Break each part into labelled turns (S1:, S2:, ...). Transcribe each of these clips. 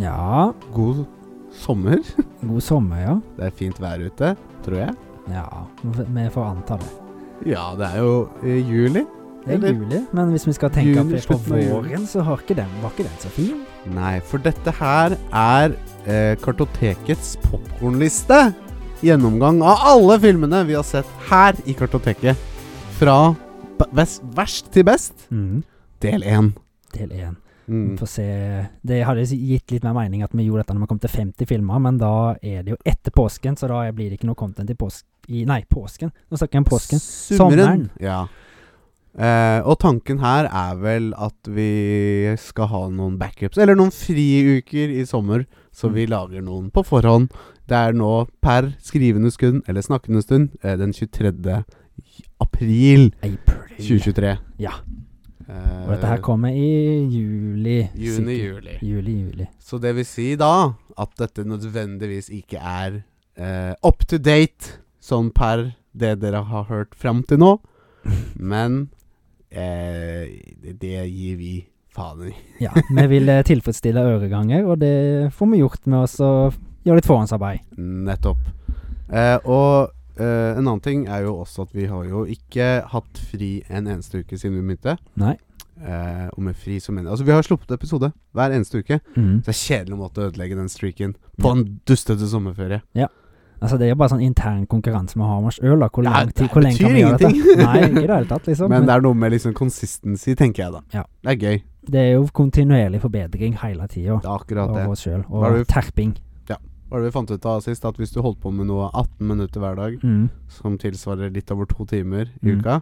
S1: Ja,
S2: God sommer.
S1: god sommer, ja.
S2: Det er fint vær ute, tror jeg.
S1: Ja, vi får anta det.
S2: Ja, det er jo eh, juli.
S1: Det er
S2: Eller-
S1: juli, men hvis vi skal tenke
S2: Juni,
S1: på, på
S2: slutten av juli.
S1: våren, så har ikke den, var ikke den så fin.
S2: Nei, for dette her er eh, Kartotekets popkornliste. Gjennomgang av alle filmene vi har sett her i Kartoteket. Fra b- best, verst til best, del én.
S1: Del én.
S2: Mhm. Mm.
S1: Få se Det hadde gitt litt mer mening at vi gjorde dette når vi kom til 50 filmer, men da er det jo etter påsken, så da blir det ikke noe content i påsken i, Nei, påsken. Nå snakker jeg om påsken.
S2: Sommeren.
S1: Sommeren.
S2: Ja. Eh, og tanken her er vel at vi skal ha noen backups, eller noen friuker i sommer, så vi
S1: Mm.
S2: lager noen på forhånd. Det er nå per skrivende stund, eller snakkende stund, eh, den 23. april
S1: April.
S2: 2023.
S1: Ja.
S2: Eh,
S1: Og dette her kommer i juli. sikkert.
S2: Juni-juli.
S1: Juli, juli.
S2: Så det vil si da at dette nødvendigvis ikke er eh, up to date sånn per det dere har hørt fram til nå. Men eh, det, det gir vi faen i.
S1: Ja, vi vil eh, tilfredsstille øreganger, og det får vi gjort med oss å gjøre litt forhåndsarbeid.
S2: Nettopp. Eh, og eh, en annen ting er jo også at vi har jo ikke hatt fri en eneste uke siden vi begynte.
S1: Nei.
S2: Eh, og med fri så mener jeg Altså, vi har sluppet episode hver eneste uke.
S1: Mm.
S2: Så det er kjedelig måte å ødelegge den streaken på en dustete sommerferie.
S1: Altså Det er jo bare sånn intern konkurranse vi har med oss sjøl. Hvor
S2: Ja,
S1: lang
S2: det
S1: tid hvor lenge
S2: betyr
S1: kan vi gjøre
S2: ingenting.
S1: dette? Nei, ikke i det hele tatt, liksom.
S2: Men
S1: Men
S2: det er noe med liksom consistency, tenker jeg da.
S1: Ja.
S2: Det er gøy.
S1: det er jo kontinuerlig forbedring hele tida.
S2: Det er akkurat det.
S1: Av oss sjøl.
S2: Hva er
S1: Og
S2: det
S1: terping.
S2: Hva var det vi fant ut av sist? At hvis du holdt på med noe 18 minutter hver dag,
S1: Mm.
S2: som tilsvarer litt over to timer i
S1: Mm.
S2: uka,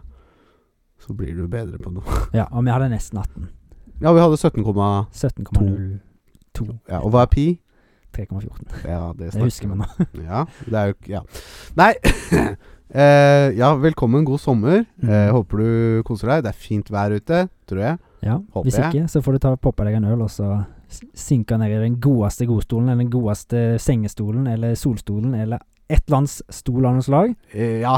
S2: så blir du bedre på noe.
S1: Ja, og vi hadde nesten 18.
S2: Ja, vi hadde 17,2.
S1: 17,02.
S2: Ja, og hva er pi?
S1: 3,14.
S2: Ja, det
S1: Det husker vi nå.
S2: om. Ja, det er jo ikke Ja. Nei. Eh, ja, velkommen. God sommer.
S1: Mm.
S2: Eh, håper du koser deg. Det er fint vær ute, tror jeg.
S1: Ja,
S2: Håper
S1: Hvis
S2: jeg.
S1: ikke, så får du ta og poppe deg en øl, og så s- synke ned i den godeste godstolen, eller den godeste sengestolen, eller solstolen, eller et eller annet stol av noe slag.
S2: Eh, ja.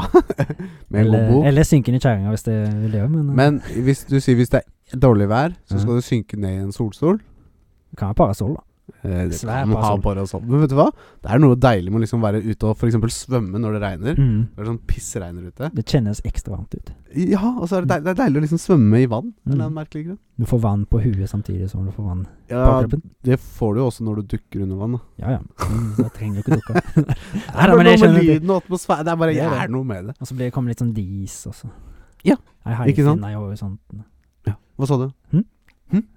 S2: Med en god
S1: Eller,
S2: bok.
S1: eller synke inn i kjerringa, hvis det vil det òg, men,
S2: Men hvis du sier hvis det er dårlig vær, så
S1: Ja.
S2: skal du synke ned i en solstol.
S1: det kan være parasoll, da.
S2: Eh, Det
S1: Svær
S2: kan man ha
S1: parasoll.
S2: parasoll. Men vet du hva? Det er noe deilig med å liksom være ute og f.eks. svømme når det regner. Det er sånn pissregner ute.
S1: Mm. Det kjennes ekstra varmt ut.
S2: Ja, og så er det deilig, det er deilig å liksom svømme i vann.
S1: Mm.
S2: Eller en eller annen merkelig grunn.
S1: Du får vann på huet samtidig som du får vann på
S2: Ja,
S1: kroppen.
S2: det får du jo også når du dukker under vann. Da.
S1: Ja ja, Mm, så trenger du ikke dukke opp. Nei da,
S2: noe
S1: men jeg
S2: med
S1: skjønner det.
S2: lyden og atmosfæren Det er bare
S1: Det er
S2: jeg
S1: det.
S2: er noe med det.
S1: Og så blir det kommet litt sånn dis også.
S2: Ja,
S1: Ei
S2: ikke sant?
S1: haifinne i horisonten.
S2: Hva sa du?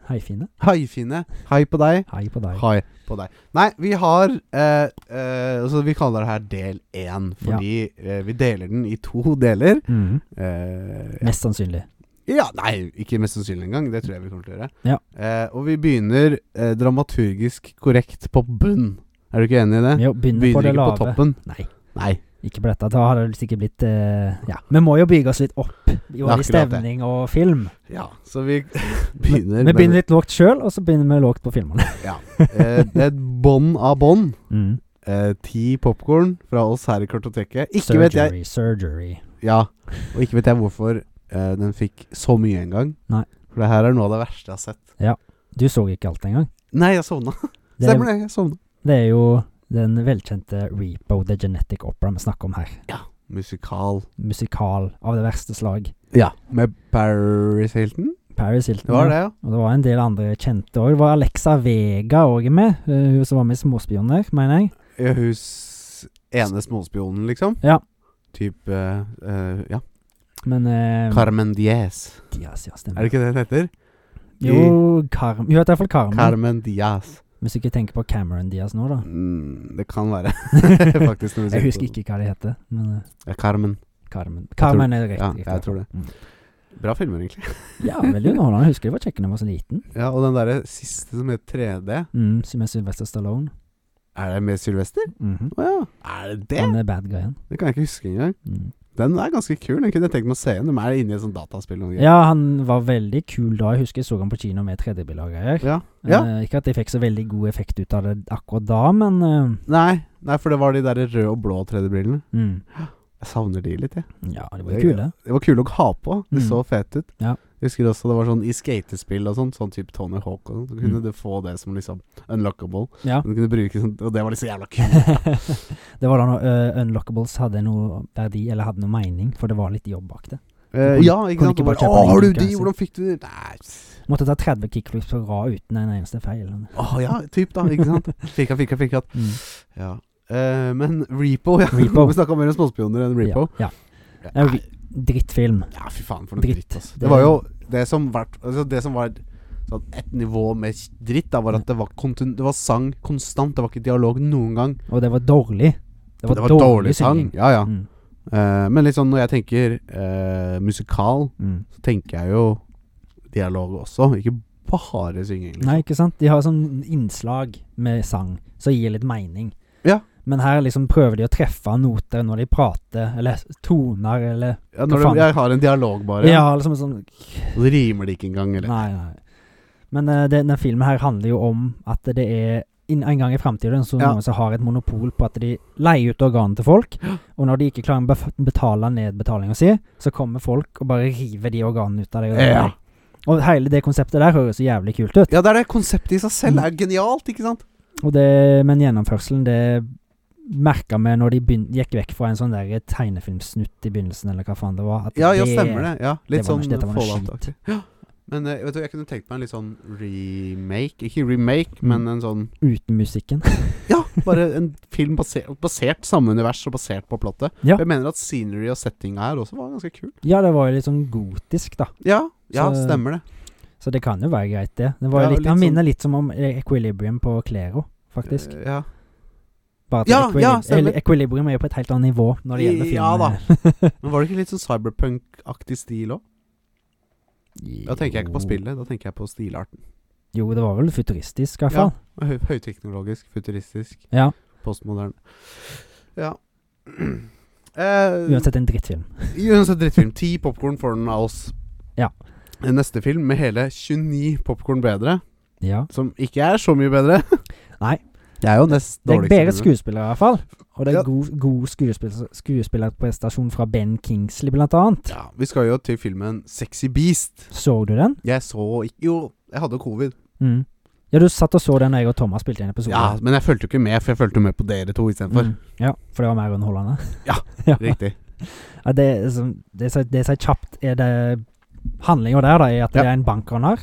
S1: Haifinne?
S2: Haifine. Hei på deg.
S1: Hai på deg.
S2: Hei på deg. Nei, vi har eh, eh, altså Vi kaller det her del én,
S1: Ja.
S2: fordi eh, vi deler den i to deler.
S1: Mm.
S2: Eh,
S1: Mest sannsynlig.
S2: Ja, nei, ikke mest sannsynlig engang. Det tror jeg vi kommer til å gjøre.
S1: Ja.
S2: Eh, og vi begynner eh, dramaturgisk korrekt på bunn. Er du ikke enig i det?
S1: Vi begynner på
S2: begynner
S1: det
S2: ikke på
S1: lave.
S2: toppen.
S1: Nei.
S2: Nei.
S1: Ikke på dette. Da hadde det sikkert blitt eh, Ja, vi må jo bygge oss litt opp i både
S2: akkurat det.
S1: stemning og film.
S2: Ja, så vi begynner
S1: Vi begynner litt lågt sjøl, og så begynner vi lågt på filmene.
S2: eh, Det er et bånd av bånd.
S1: Mm.
S2: Eh, ti popkorn fra oss her i Kartoteket. Ikke
S1: surgery,
S2: vet jeg
S1: surgery.
S2: Ja, og ikke vet jeg hvorfor eh, den fikk så mye en gang.
S1: Nei.
S2: For det her er noe av det verste jeg har sett.
S1: Du så ikke alt engang.
S2: Nei, jeg sovna.
S1: Det, er-
S2: Stemmer det, jeg sovna.
S1: det er jo den velkjente Repo The Genetic Opera vi snakker om her.
S2: Musikal.
S1: Musikal av det verste slag.
S2: Ja. Med Paris Hilton.
S1: Paris Hilton.
S2: Det var
S1: ja.
S2: det, ja.
S1: Og det var en del andre kjente òg. Det var Alexa Vega òg med. eh, Hun som var med i Småspioner, mener jeg.
S2: Ja, hun s- ene småspionen, liksom?
S1: Ja.
S2: Typ eh, eh, Ja.
S1: Men eh,
S2: Carmen Diaz.
S1: Diaz, ja,
S2: Er det
S1: stemmer.
S2: ikke det den heter?
S1: Jo, Carm... Hun heter iallfall Carmen.
S2: Carmen Diaz.
S1: Hvis du ikke tenker på Cameron Diaz nå, da.
S2: Mm, det kan være. Faktisk. Når du
S1: Jeg
S2: ser
S1: husker
S2: på det.
S1: ikke hva de heter, men eh,
S2: Ja, Carmen.
S1: Carmen. Carmen er riktig.
S2: ja,
S1: riktig.
S2: jeg tror det.
S1: Mm.
S2: Bra filmer, egentlig.
S1: Ja, veldig underholdende. Jeg husker de var kjekke da jeg var så liten.
S2: Ja, Og den derre siste som het 3D,
S1: Mm, som er Sylvester Stallone.
S2: er det med Sylvester?
S1: Mhm.
S2: Å ja. Er det det?
S1: Han er bad guyen.
S2: Det kan jeg ikke huske engang.
S1: Mm.
S2: Den er ganske kul. Den kunne jeg tenkt meg å se igjen. De er inne i et sånt dataspill. og noe greier.
S1: Ja, han var veldig kul da. Jeg husker jeg så han på kino med 3D-bilder og greier.
S2: ja. Ja.
S1: Eh, ikke at jeg fikk så veldig god effekt ut av det akkurat da, men eh,
S2: Nei, nei, for det var de der røde og blå 3D-brillene.
S1: mm.
S2: Jeg savner de litt, jeg.
S1: Ja, de var jo
S2: Det-
S1: kule.
S2: Det var kule å ha på. De
S1: Mm.
S2: så fete ut.
S1: Ja.
S2: Jeg husker også det var sånn i skatespill og sånn, sånn type Tony Hawk og sånn, så kunne
S1: Mm.
S2: du få det som liksom unlockable.
S1: Ja.
S2: Du kunne bruke sånn, og det var liksom jævla kult.
S1: det var da når eh, Unlockables hadde noe verdi, eller hadde noe mening, for det var litt jobb bak det.
S2: Eh, ja, ikke
S1: Kan
S2: sant?
S1: du ikke
S2: Og Bare,
S1: bare
S2: Å,
S1: kjøpe altså.» den i
S2: har du de?
S1: konkurransen?»
S2: Hvordan fikk du de? Nei
S1: Måtte ta 30 kickflips på rad uten en eneste feil.
S2: Å ja, typ da, ikke sant? Firkant, firkant, firkant.
S1: Mm.
S2: Ja. Eh, men Repo, ja.
S1: Repo.
S2: Vi snakka mer om småspioner enn Repo.
S1: Ja.
S2: Ja.
S1: ja. Re- Drittfilm.
S2: Ja, fy faen, for noe dritt.
S1: Dritt.
S2: altså.
S1: Det
S2: Det var
S1: er-
S2: jo det som, vart, altså det som var sånn et nivå med dritt, da, var at det var, kontun, det var sang konstant. Det var ikke dialog noen gang.
S1: Og det var dårlig. Det var, dårlig, synging.
S2: Ja, ja.
S1: Mm.
S2: Eh, men liksom når jeg tenker eh, musikal,
S1: Mm.
S2: så tenker jeg jo dialog også, ikke bare synging. Liksom.
S1: Nei, ikke sant? De har sånn innslag med sang som gir litt mening.
S2: Ja.
S1: Men her liksom prøver de å treffe noter når de prater, eller toner, eller
S2: ja, når
S1: hva
S2: du,
S1: faen?
S2: jeg har en dialog, bare.
S1: Ja, liksom sånn
S2: Og det rimer det ikke engang. Eller.
S1: Nei, nei. Men eh, det, denne filmen her handler jo om at det er inn, en gang i framtiden så
S2: Ja.
S1: noen som har et monopol på at de leier ut organene til folk, og når de ikke klarer å bef- betale ned betalinga si, så kommer folk og bare river de organene ut av deg. og-
S2: Ja.
S1: Og hele det konseptet der høres så jævlig kult ut,
S2: Ja, det er det konseptet i seg selv er genialt, ikke sant?
S1: og det, men gjennomførselen, det merka vi når de begyn- gikk vekk fra en sånn der tegnefilmsnutt i begynnelsen, eller hva faen det var. at
S2: Ja, ja, stemmer det. Ja, litt
S1: det var noe-
S2: sånn
S1: dette var noe
S2: fallout-aktig. Ja. Men eh, vet du, jeg kunne tenkt meg en litt sånn remake. Ikke remake,
S1: Mm.
S2: men en sånn
S1: Uten musikken.
S2: Ja, bare en film basert, basert samme univers og basert på plottet.
S1: Ja.
S2: Jeg mener at scenery og settinga her også var ganske kul.
S1: Ja, det var jo litt sånn gotisk, da.
S2: Ja, ja
S1: Så-
S2: stemmer det.
S1: Så det kan jo være greit, det. det var
S2: Ja,
S1: jo litt,
S2: litt
S1: han
S2: sånn-
S1: minner litt som om eh, Equilibrium på Klero, faktisk.
S2: Eh, ja.
S1: Bare at
S2: ja,
S1: Equili-
S2: ja, stemmer.
S1: eller Equilibrium er jo på et helt annet nivå når det gjelder
S2: Ja da.
S1: filmen.
S2: Men var det ikke litt sånn cyberpunk-aktig stil òg? Da tenker jeg ikke på
S1: Jo.
S2: spillet, da tenker jeg på stilarten.
S1: Jo, det var vel futuristisk, i hvert
S2: Ja.
S1: fall.
S2: Høy, høyteknologisk, futuristisk,
S1: Ja.
S2: postmoderne. Ja. Eh,
S1: Uansett en drittfilm.
S2: Uansett drittfilm. Ti popkorn får den av oss. Eh,
S1: Ja.
S2: Neste film med hele 29 popkorn bedre,
S1: Ja.
S2: som ikke er så mye bedre.
S1: Nei.
S2: Det er jo nest
S1: Det er bedre
S2: dårligste. filmen.
S1: skuespillere, i hvert fall. Og det er
S2: Ja.
S1: god, god skuespiller, skuespillerprestasjon fra Ben Kingsley, blant annet.
S2: Ja, vi skal jo til filmen Sexy Beast.
S1: Så du den?
S2: Jeg så ikke Jo, jeg hadde covid.
S1: Mm. Ja, du satt og så den da jeg og Thomas spilte en episode.
S2: Ja, Men jeg fulgte jo ikke med, for jeg fulgte med på dere to istedenfor.
S1: Mm. ja, for det var mer underholdende.
S2: Ja,
S1: ja.
S2: Riktig.
S1: Ja, det, er som- det, som- det som er kjapt, er det handlinga der, da, er at det
S2: Ja.
S1: er en bankraner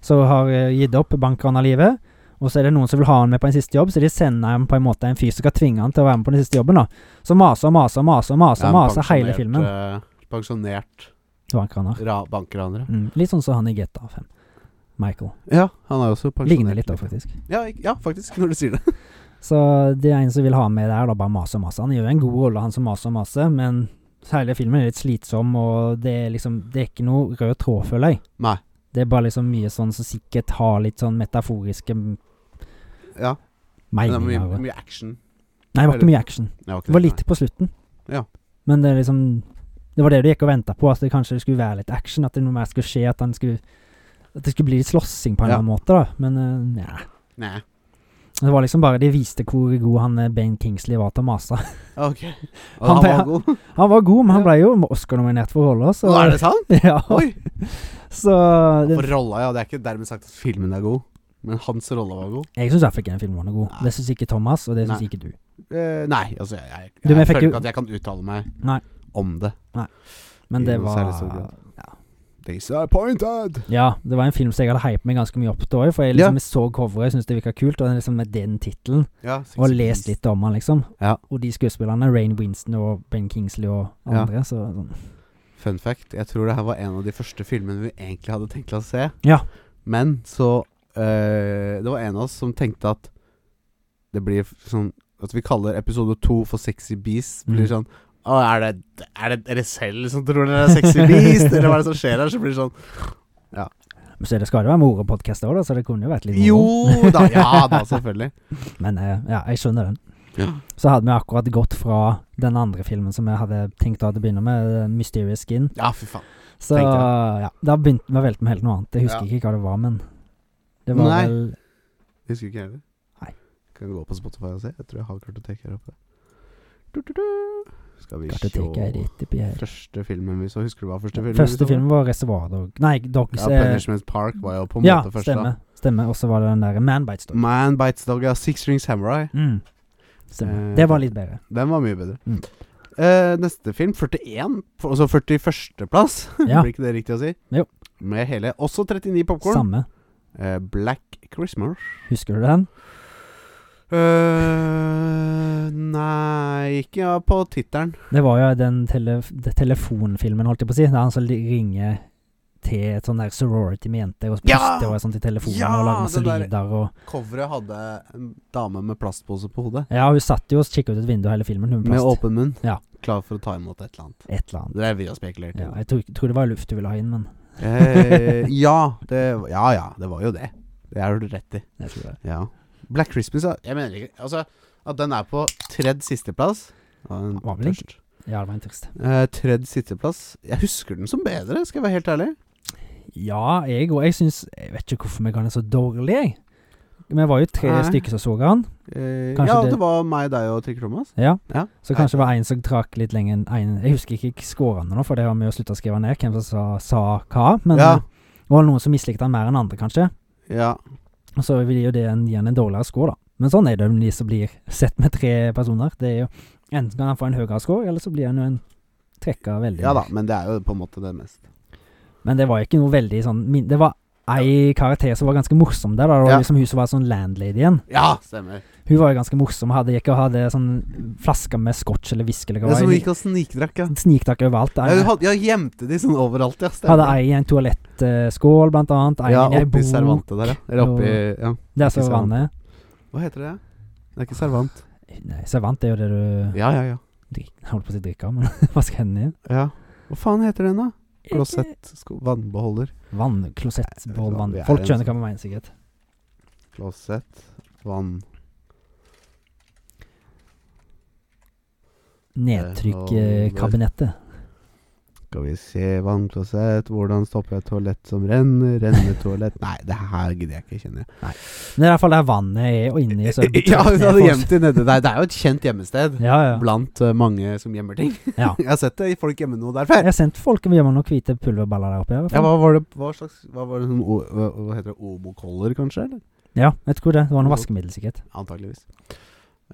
S1: som har eh, gitt opp bankranerlivet. Og så er det noen som vil ha han med på en siste jobb, så de sender ham på en måte en fyr som skal tvinge han til å være med på den siste jobben. da Så maser og maser og maser og maser,
S2: Ja,
S1: og maser Altså, hele
S2: pensjonert,
S1: filmen.
S2: eh, Pensjonert
S1: Bankraner.
S2: ra bankraner.
S1: Mm. Litt sånn som han i GTA 5. Michael.
S2: Ja, han er også pensjonert.
S1: Ligner litt da, faktisk.
S2: Ja, ik- ja, faktisk, når du sier det.
S1: Så det er en som vil ha med der, da bare maser og maser. Han gjør en god rolle, han som maser og maser, men hele filmen er litt slitsom, og det er liksom Det er ikke noe rød tråd, føler jeg.
S2: Nei.
S1: Det er bare liksom mye sånn som sikkert har litt sånn metaforiske m-
S2: Ja, men det er
S1: meninger.
S2: mye,
S1: og-
S2: mye action.
S1: Nei, det var ikke mye action.
S2: Det var, ikke
S1: Det var
S2: det,
S1: litt på slutten.
S2: Ja.
S1: Men det er liksom Det var det du gikk og venta på, at det kanskje skulle være litt action, at det noe mer skulle skje, at han skulle At det skulle bli litt slåssing på en
S2: Ja.
S1: eller annen måte, da. Men eh, ja.
S2: Nei. Nei.
S1: Det var liksom bare De viste hvor god han eh, Ben Kingsley var til å mase.
S2: Ok. Og
S1: Han
S2: han,
S1: ble-
S2: var god.
S1: Han var god, men
S2: Ja.
S1: han ble jo Oscar-nominert for rolla, så
S2: Nå er det sant?
S1: Ja,
S2: Oi!
S1: så det,
S2: For rolla, ja. Det er ikke dermed sagt at filmen er god, men hans rolle var god.
S1: Jeg syns iallfall ikke den filmen var noe god.
S2: Nei.
S1: Det syns ikke Thomas, og det syns
S2: Nei.
S1: ikke du.
S2: Eh, nei, altså jeg, jeg,
S1: Du,
S2: jeg,
S1: men jeg fikk
S2: føler
S1: jo-
S2: ikke at jeg kan uttale meg
S1: Nei.
S2: om det.
S1: Men
S2: I
S1: det
S2: noe
S1: var
S2: særlig stor grad. Disappointed!
S1: Ja, det var en film som jeg hadde hypet meg ganske mye opp til òg, for jeg
S2: Ja.
S1: liksom så coveret, jeg syntes det virka kult, og liksom med den tittelen,
S2: Ja,
S1: og lest litt om han, liksom.
S2: Ja.
S1: Og de skuespillerne, Rain Winston og Ben Kingsley og
S2: Ja.
S1: andre, så sånn.
S2: Fun fact, jeg tror det her var en av de første filmene vi egentlig hadde tenkt å se.
S1: Ja.
S2: Men så eh, Det var en av oss som tenkte at det blir f- sånn At vi kaller episode to for Sexy Beast. Blir
S1: Mm.
S2: sånn Å, er det, er det dere selv som tror dere er Sexy Beast, eller hva er det som skjer her? Så blir det sånn
S1: Men så er det skal det være moropodkast òg, da, så det kunne jo vært litt
S2: Jo
S1: moro.
S2: da! Ja da, selvfølgelig.
S1: Men eh, ja, jeg skjønner den.
S2: Ja.
S1: Så hadde vi akkurat gått fra den andre filmen som jeg hadde tenkt å begynne med, eh, Mysterious Skin.
S2: Ja, fy faen.
S1: Så
S2: Tenkte
S1: ja, da begynte vi å velte med helt noe annet. Jeg husker
S2: Ja.
S1: ikke hva det var, men det var
S2: Nei.
S1: vel
S2: Jeg husker ikke heller.
S1: Nei.
S2: Kan gå på Spotify og se. Jeg tror jeg har kartoteket her oppe. Du, du, du. Skal vi
S1: Kartoteket er
S2: se
S1: rett oppi her.
S2: Første filmen vi så, husker du hva første filmen vi
S1: Første
S2: så?
S1: filmen var Reservoir Dog Nei, Dogs
S2: Ja,
S1: eh,
S2: Punishment Park var jo på en
S1: Ja,
S2: måte første.
S1: stemmer. stemmer. Og så var det den der Man Bites Dog.
S2: Man Bites Dog, ja. Six String Samurai.
S1: Mm. Stemmer.
S2: Eh,
S1: Det var litt bedre.
S2: Den var mye bedre.
S1: Mm.
S2: Eh, neste film, 41. f- Altså 41. plass,
S1: Ja.
S2: blir ikke det riktig å si?
S1: Jo.
S2: Med hele også 39 popkorn.
S1: Samme.
S2: Black Christmas.
S1: Husker du den?
S2: Eh, nei Ikke ja, på tittelen.
S1: Det var jo den telef de- telefonfilmen, holdt jeg på å si. Der han som li- ringer til et sånn der sorority med jenter og
S2: Ja!
S1: puster og sånt i telefonen
S2: Ja,
S1: og lager masse
S2: det der-
S1: lyder og
S2: Coveret hadde en dame med plastpose på hodet.
S1: Ja, hun satt jo og kikket ut et vindu hele filmen, hun
S2: Med
S1: plast.
S2: åpen munn.
S1: Ja.
S2: Klar for å ta imot et eller annet.
S1: Et eller annet.
S2: Det er vi har spekulert i.
S1: Ja, jeg tror, tror det var luft du ville ha inn, men
S2: Eh, ja, det, ja ja, det var jo det. Det har du rett i.
S1: jeg tror det.
S2: Ja. Black Christmas, ja. jeg mener ikke Altså, at den er på tredje sisteplass
S1: Var vel ikke- Ja, det var en trist.
S2: Eh, tredje sisteplass Jeg husker den som bedre, skal jeg være helt ærlig.
S1: Ja, jeg òg. Jeg syns Jeg vet ikke hvorfor vi kan er så dårlig, jeg. Vi var jo tre
S2: Nei.
S1: stykker som så han.
S2: Eh,
S1: Kanskje
S2: ja, det,
S1: det-
S2: var meg, deg og Trygve Thomas.
S1: Ja.
S2: Ja.
S1: Så kanskje det var en som trakk litt lenger enn en Jeg husker ikke skårene nå, for det har vi jo slutta å skrive ned hvem som sa, sa hva. Men
S2: Ja.
S1: eh, det var noen som mislikte han mer enn andre, kanskje.
S2: Ja.
S1: Og så vil jo det en- gi han en dårligere score, da. Men sånn er det om de som blir sett med tre personer. Det er jo Enten kan han få en høyere score, eller så blir han jo en trekka veldig.
S2: ja da,
S1: ned.
S2: men det er jo på en måte det mest.
S1: Men det var ikke noe veldig sånn min- Det var ei karakter som var ganske morsom der. Da. Det var
S2: Ja.
S1: liksom hun som var sånn landlady igjen.
S2: Ja, stemmer.
S1: Hun var jo ganske morsom. Hadde gikk og hadde sånn flasker med scotch eller whisky eller hva.
S2: Det som
S1: var.
S2: gikk og snikdrakk, ja.
S1: Sniktakk overalt.
S2: Ja, hun had- ja, gjemte de sånn overalt, ja.
S1: Hadde ei i en toalettskål, blant annet. Ei
S2: Ja,
S1: i ei
S2: oppi
S1: bok.
S2: servantet der, ja. Eller oppi ja.
S1: Der som
S2: oppi
S1: var vannet.
S2: Hva heter det? Det er ikke servant.
S1: Nei, servant er jo det du
S2: Ja, ja, ja.
S1: drik, holdt på å si drikker, men vasker hendene i.
S2: ja. Hva faen heter den, da? Klosett, sko, vannbeholder.
S1: Vann, klosett, bål, vann.
S2: Vi er
S1: Folk
S2: en
S1: skjønner hva vi mener, sikkert.
S2: Klosett, vann
S1: Nedtrykkabinettet.
S2: Skal vi se Vannklosett, hvordan stopper jeg et toalett som renner? Rennetoalett Nei, det her gidder jeg ikke, kjenner jeg.
S1: Men det er i hvert fall der vannet er, og inni så er det
S2: Ja,
S1: trøtt
S2: hun
S1: ned
S2: hadde
S1: for-
S2: gjemt det nedi der. Det er jo et kjent gjemmested
S1: Ja, ja.
S2: blant eh, mange som gjemmer ting.
S1: ja.
S2: Jeg har sett det i folk gjemme noe der før.
S1: Jeg har sendt folk med hjem med noen hvite pulverballer der oppe. i hvert
S2: Ja,
S1: fall.
S2: hva var det Hva slags Hva var det sånn o- Hva hva heter det? Obokoller, kanskje? Eller?
S1: Ja, jeg tror det. Det var noe vaskemiddel, sikkert.
S2: Antageligvis.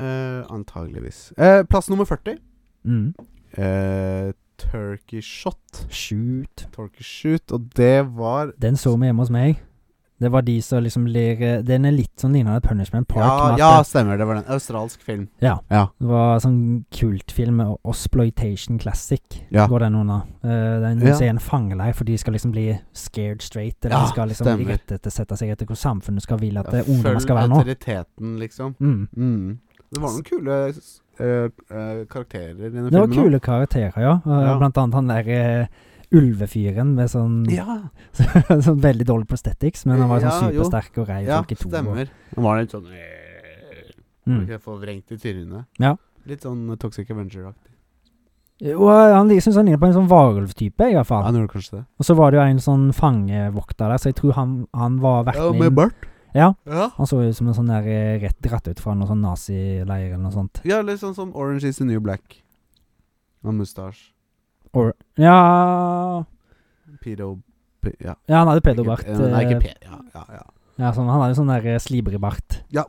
S2: Eh, antageligvis. Eh, plass nummer 40.
S1: Mm.
S2: Eh, Turkey Shot.
S1: Shoot.
S2: Turkey Shoot. Og det var
S1: Den så vi hjemme hos meg. Det var de som liksom lir eh, Den er litt sånn lignende Punishment Park. med
S2: ja,
S1: at
S2: ja,
S1: det-
S2: stemmer. Det var den. Australsk film.
S1: Det var sånn kultfilm med Osploitation Classic.
S2: Ja.
S1: Går den under. Eh, den
S2: Ja.
S1: ser en fangeleir, for de skal liksom bli scared straight. Eller
S2: Ja,
S1: de skal liksom
S2: stemmer.
S1: irettesette seg etter hvor samfunnet skal ville at
S2: Ja,
S1: eh, ungdommer skal være nå.
S2: autoriteten, liksom.
S1: Mm.
S2: Mm. Det var noen kule eh, eh, karakterer i den
S1: Det var
S2: filmen.
S1: kule karakterer, ja. Eh,
S2: Ja.
S1: Blant annet han der eh, ulvefyren med sånn,
S2: også. Ja,
S1: sånn veldig dårlig prosthetics, men han var sånn
S2: Ja, jo.
S1: supersterk og rei
S2: ja
S1: folk i to. og-
S2: stemmer. Den var litt sånn eh,
S1: Mm.
S2: ikke Forvrengt i trynet.
S1: Ja.
S2: Litt sånn Toxic Avenger-aktig.
S1: Og eh, han syns han ligner på en sånn varulvtype, i hvert
S2: Ja,
S1: fall.
S2: han gjorde kanskje det.
S1: Og så var det jo en sånn fangevokter der, så jeg tror han, han var
S2: Ja,
S1: verten
S2: med
S1: inn-
S2: bart.
S1: Ja,
S2: Ja.
S1: Han så ut som en sånn der eh, rett dratt ut fra noen sånn nazileir eller noe sånt.
S2: ja, litt sånn som Orange is the New Black. Med mustasje.
S1: Or, ja
S2: Pedo... Pe ja.
S1: Ja, han hadde pedobart.
S2: Ikke- eh, Nei, ikke
S1: eh,
S2: P. Ja, ja, ja.
S1: Ja, sånn, han hadde jo sånn der eh, slibribart.
S2: Ja.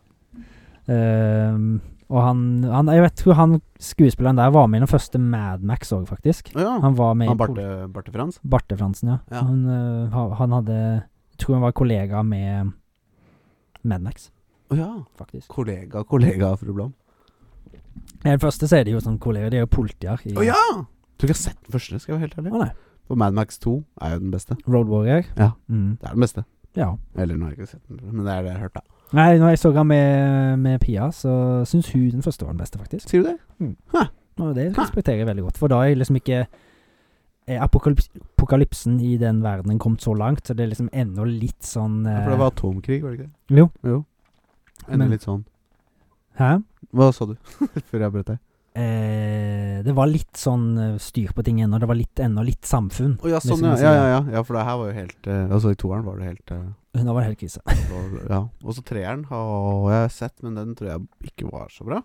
S1: Ehm, og han, han Jeg vet, tror han skuespilleren der var med i den første Mad Max òg, faktisk.
S2: Å ja.
S1: Han var med
S2: Han
S1: i pol-
S2: Barte, Barte Frans?
S1: Barte Fransen, ja.
S2: Ja.
S1: Han, eh, ha- han hadde jeg Tror han var kollega med Mad Max,
S2: Å ja.
S1: faktisk.
S2: Kollega, kollega, fru Blom.
S1: I den første så er de jo sånn kollegaer, de er jo politier. i-
S2: Å ja! Tror ikke jeg har sett den første, skal jeg være helt ærlig.
S1: Å, nei.
S2: For Mad Max 2 er jo den beste.
S1: Road Warrior.
S2: Ja.
S1: Mm,
S2: Det er den beste.
S1: ja.
S2: Eller nå har jeg ikke sett den, men det er det jeg har hørt, da.
S1: Nei, når jeg så han med, med Pia, så syns hun den første var den beste, faktisk.
S2: Sier du det?
S1: Og det respekterer jeg veldig godt, for da er liksom ikke er apokalyps apokalypsen i den verdenen kommet så langt, så det er liksom ennå litt sånn
S2: Ja,
S1: eh,
S2: for det var atomkrig, var det ikke det?
S1: Jo.
S2: Enda
S1: Men-
S2: litt sånn.
S1: Hæ?
S2: Hva sa du? Før jeg brøt deg.
S1: Eh, det var litt sånn eh, styr på ting ennå. Det var litt, ennå litt samfunn.
S2: Å ja,
S1: Det er
S2: sånn,
S1: som
S2: ja.
S1: jeg
S2: Ja,
S1: sier.
S2: ja, ja. ja for det her var jo helt eh, Altså, i toeren var det helt eh,
S1: Nå var det helt krise.
S2: var, Ja. Og så treeren har jeg sett, men den tror jeg ikke var så bra.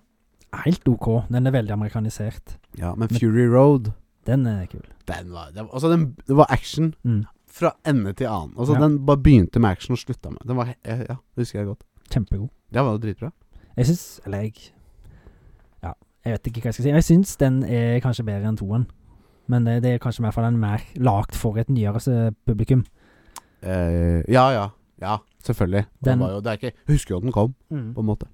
S1: helt ok. Den er veldig amerikanisert.
S2: Ja, men Fury Road,
S1: Den er kul.
S2: den var det var, Altså, den, det var action
S1: Mm,
S2: fra ende til annen. Altså,
S1: Ja.
S2: den bare begynte med action og slutta med Den var he- Ja, det husker jeg godt.
S1: kjempegod.
S2: Det var jo dritbra.
S1: Jeg syns Eller jeg Ja, jeg vet ikke hva jeg skal si. Jeg syns den er kanskje bedre enn toen. Men det, det er kanskje mer for den er mer lagd for et nyere eh, publikum.
S2: Eh, ja, ja. Ja, selvfølgelig. Den,
S1: Den-
S2: var jo, det er ikke Jeg husker jo at den kom, på en måte.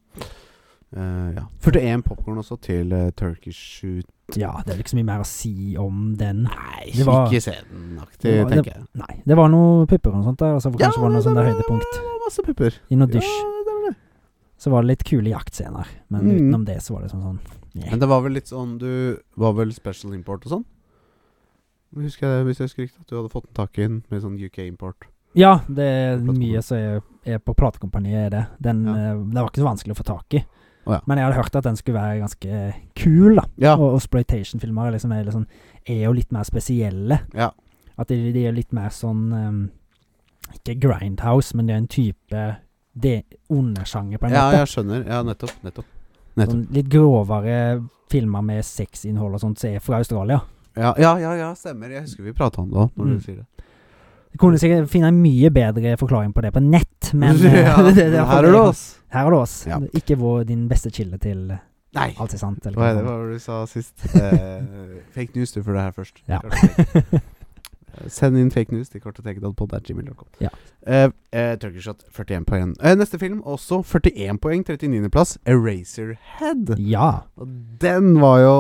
S2: Eh, ja. 41 popkorn også til eh, Turkish Shoot.
S1: Ja, det er ikke så mye mer å si om den.
S2: Nei,
S1: Det var-
S2: ikke se den-aktig,
S1: Det var-
S2: tenker jeg.
S1: Nei. Det var noe pupper og sånt der, og så kanskje var det noe sånt der
S2: var-
S1: høydepunkt.
S2: det var masse pupper.
S1: I noe
S2: Ja,
S1: dusj.
S2: det var det.
S1: Så var det litt kule jaktscener. Men
S2: Mm.
S1: utenom det så var det sånn sånn eh.
S2: Men det var vel litt sånn Du var vel special import og sånn? Husker jeg det, hvis jeg husker riktig, at du hadde fått den tak i den med sånn UK import.
S1: Ja, det er
S2: Platekompani.
S1: mye som er, er på platekompaniet, er det. Den,
S2: Ja.
S1: eh, Det var ikke så vanskelig å få tak i.
S2: Å ja.
S1: Men jeg hadde hørt at den skulle være ganske kul, da.
S2: Ja.
S1: Og, og Sploitation-filmer er, liksom, er, liksom, er jo litt mer spesielle.
S2: Ja.
S1: At de, de er litt mer sånn eh, Ikke Grindhouse, men det er en type det undersjanger, på en
S2: ja,
S1: måte.
S2: jeg skjønner. Ja, nettopp. Nettopp. nettopp.
S1: Sånn litt grovere filmer med sexinnhold og sånt som er fra Australia.
S2: Ja, ja, ja, ja, stemmer. Jeg husker vi prata om det òg, når
S1: Mm.
S2: du sier det.
S1: Jeg kunne sikkert finne en mye bedre forklaring på det på nett, men eh,
S2: Ja, men
S1: det- det- det er
S2: her er
S1: for-
S2: det oss.
S1: Her er det oss.
S2: Ja.
S1: Ikke vår, din beste kilde til
S2: Nei!
S1: alt er sant. Eller
S2: Hva er det,
S1: hva
S2: hva var det du sa sist? Eh, fake news, du får det her først.
S1: Ja.
S2: Eh, Send inn fake news til kortetekdalpod.gmail.com.
S1: Ja.
S2: Eh, eh, Turkish Shot, 41 poeng. Eh, neste film, også 41 poeng, 39.-plass, Eraserhead.
S1: Ja.
S2: Og den var jo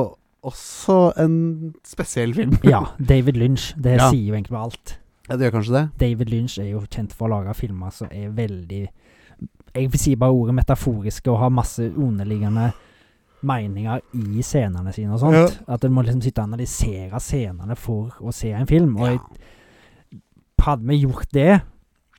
S2: også en spesiell film.
S1: ja. David Lynch. Det
S2: Ja.
S1: sier jo egentlig bare alt.
S2: Ja, det gjør kanskje det?
S1: David Lynch er jo kjent for å lage filmer som er veldig Jeg vil si bare ordet metaforiske og har masse underliggende meninger i scenene sine og sånt. At en må liksom sitte og analysere scenene for å se en film. Og
S2: Ja.
S1: hadde vi gjort det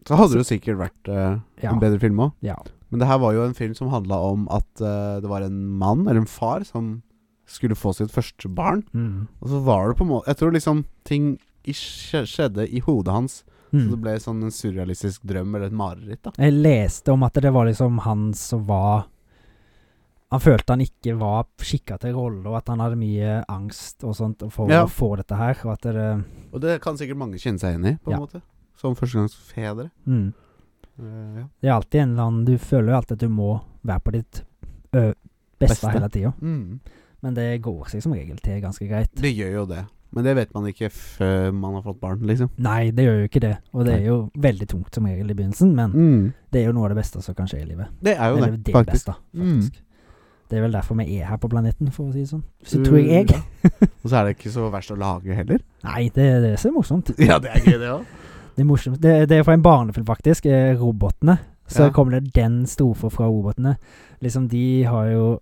S2: Så hadde det jo sikkert vært eh,
S1: Ja.
S2: en bedre film òg.
S1: Ja.
S2: Men det her var jo en film som handla om at eh, det var en mann, eller en far, som skulle få sitt første barn.
S1: mm,
S2: Og så var det på en måte Jeg tror liksom ting ish skje- skjedde i hodet hans. Så det
S1: mm.
S2: ble sånn en surrealistisk drøm eller et mareritt. da
S1: Jeg leste om at det var liksom han som var Han følte han ikke var skikka til rolle, og at han hadde mye angst og sånt for
S2: Ja.
S1: å få dette her. Og at det
S2: Og det kan sikkert mange kjenne seg igjen i, på en
S1: Ja.
S2: måte. Som førstegangsfedre.
S1: mm,
S2: Eh, ja.
S1: Det er alltid en eller annen Du føler jo alltid at du må være på ditt ø, beste,
S2: Beste.
S1: hele tida.
S2: mm.
S1: Men det går seg som regel til ganske greit.
S2: Det gjør jo det. Men det vet man ikke før man har fått barn, liksom.
S1: Nei, det gjør jo ikke det. Og det er jo veldig tungt som regel i begynnelsen, men
S2: Mm.
S1: det er jo noe av det beste som kan skje i livet.
S2: Det er jo
S1: Eller
S2: det,
S1: det
S2: faktisk.
S1: beste,
S2: Mm.
S1: faktisk. Det er vel derfor vi er her på planeten, for å si det sånn. Så tror jeg.
S2: Ja. Og så er det ikke så verst å lage heller.
S1: Nei, det, det er så morsomt.
S2: Ja, det er gøy, det òg.
S1: Det er morsomt. Det, det er fra en barnefilm, faktisk. eh, Robotene. Så
S2: Ja.
S1: kommer det den strofen fra robotene. Liksom, de har jo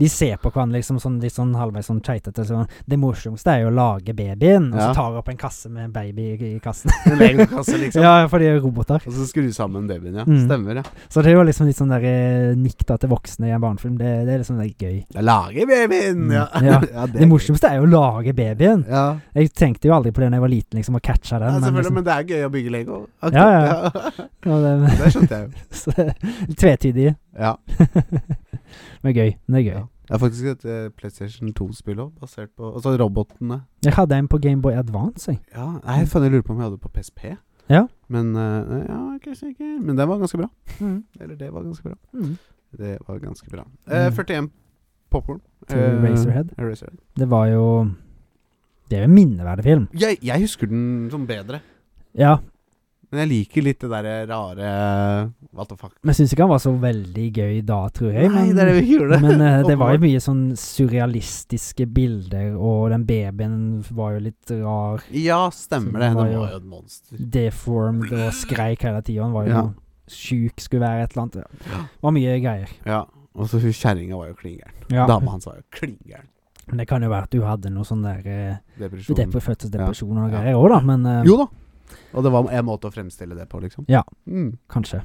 S1: De ser på hverandre liksom sånn, litt sånn halvveis sånn keitete. Sånn. Det morsomste er jo å lage babyen, og
S2: Ja.
S1: så tar de opp en kasse med en baby i, i kassen.
S2: En legokasse, liksom.
S1: ja, for de er roboter.
S2: Og så skru sammen babyen, ja.
S1: Mm.
S2: Stemmer, ja.
S1: Så det er jo liksom litt sånn der eh, nikk da til voksne i en barnefilm. Det, det er liksom det er gøy.
S2: Jeg lager babyen!
S1: Mm.
S2: Ja.
S1: Ja.
S2: er
S1: Det morsomste er jo å lage babyen.
S2: gøy. Ja.
S1: Jeg tenkte jo aldri på det da jeg var liten, liksom, å catche
S2: ja,
S1: den. men
S2: selvfølgelig,
S1: liksom,
S2: men det er gøy å bygge Lego. Akkurat,
S1: Ja, ja, ja.
S2: ja.
S1: og det-
S2: Det skjønte jeg jo.
S1: så det er Tvetydig.
S2: Ja.
S1: Men gøy. Men det er gøy.
S2: ja. Det er faktisk et eh, PlayStation 2-spill òg, basert på Altså robotene.
S1: Jeg hadde en på Gameboy Advance, jeg.
S2: Ja, nei, jeg faen, jeg lurer på om jeg hadde det på PSP.
S1: Ja.
S2: Men eh, ja, ikke sikker. Men den var ganske bra. Eller det var ganske bra.
S1: Mm.
S2: Det var ganske bra. Eh,
S1: Mm.
S2: 41 popkorn.
S1: Til Eraserhead.
S2: Eraserhead.
S1: Det var jo Det er jo en minneverdig film.
S2: Jeg, jeg husker den som bedre.
S1: Ja,
S2: Men jeg liker litt det derre rare What the fuck.
S1: men jeg syns ikke han var så veldig gøy da, tror jeg.
S2: Nei,
S1: Men,
S2: det er det vi ikke gjorde.
S1: men eh, det var
S2: Åpenbart.
S1: jo mye sånn surrealistiske bilder, og den babyen var jo litt rar.
S2: Ja, stemmer det.
S1: Så den var
S2: Den
S1: jo-
S2: var jo et monster.
S1: Deformed og skreik hele tida. Han var jo
S2: Ja.
S1: sjuk, skulle være et eller annet. Det var mye greier.
S2: Ja. Og så hun kjerringa var jo klingæren.
S1: Ja.
S2: Dama hans var jo klingæren.
S1: Men det kan jo være at du hadde noe sånn der eh,
S2: Depresjon.
S1: depre, fødselsdepresjon og noe
S2: Ja.
S1: greier òg, da. Men eh,
S2: Jo da. Og det var en måte å fremstille det på, liksom.
S1: Ja.
S2: Mm.
S1: kanskje.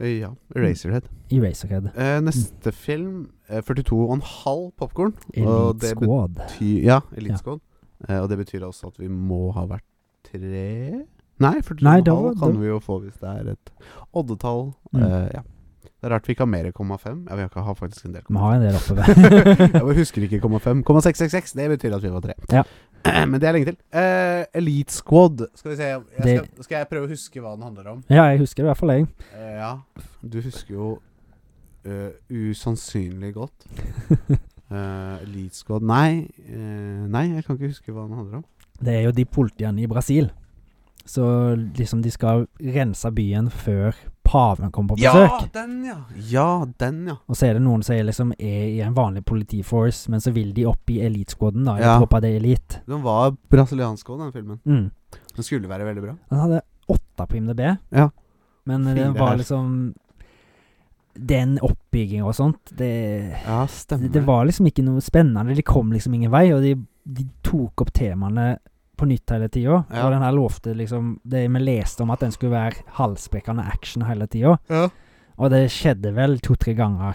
S2: Ja. Eraserhead.
S1: Eraserhead.
S2: Eh, neste film, eh, 42,5 popkorn. Og
S1: Elite
S2: det
S1: Squad.
S2: betyr Ja,
S1: Ja.
S2: Elite Squad. Eh, og det betyr også at vi må ha vært tre Nei,
S1: Nei, da var-
S2: 42,5 kan vi jo få hvis det er et oddetall.
S1: Mm.
S2: Eh, ja. Det er rart vi ikke har mer 0,5. Ja, vi har ikke- har faktisk en del.
S1: Vi har en del oppe ved.
S2: jeg bare husker ikke 0,5. 0,666, det betyr at vi var tre.
S1: Ja.
S2: Men det er lenge til. Eh, Elite Squad. Skal vi se jeg
S1: Det-
S2: skal, skal jeg prøve å huske hva den handler om?
S1: Ja, jeg husker det i hvert fall, jeg.
S2: Eh, ja. Du husker jo eh, usannsynlig godt. Eh, Elite Squad Nei. eh, nei, jeg kan ikke huske hva den handler om.
S1: Det er jo de politiene i Brasil. Så liksom de skal rense byen før paven kommer på besøk.
S2: Ja, den, ja! Ja, den, ja.
S1: Og så er det noen som er, liksom, er i en vanlig politiforce, men så vil de opp i eliteskåden, da. Jeg
S2: Ja.
S1: håper det er elite.
S2: Den var brasiliansk òg, den filmen.
S1: Mm.
S2: Den skulle være veldig bra.
S1: Den hadde åtte på IMDb,
S2: Ja.
S1: men det
S2: Fire
S1: var
S2: her.
S1: liksom Den oppbygginga og sånt, det,
S2: Ja, stemmer.
S1: det Det var liksom ikke noe spennende. De kom liksom ingen vei, og de, de tok opp temaene på nytt hele tida.
S2: Ja.
S1: Og den her lovte liksom Det vi leste om at den skulle være halsbrekkende action hele tida.
S2: ja.
S1: Og det skjedde vel to-tre ganger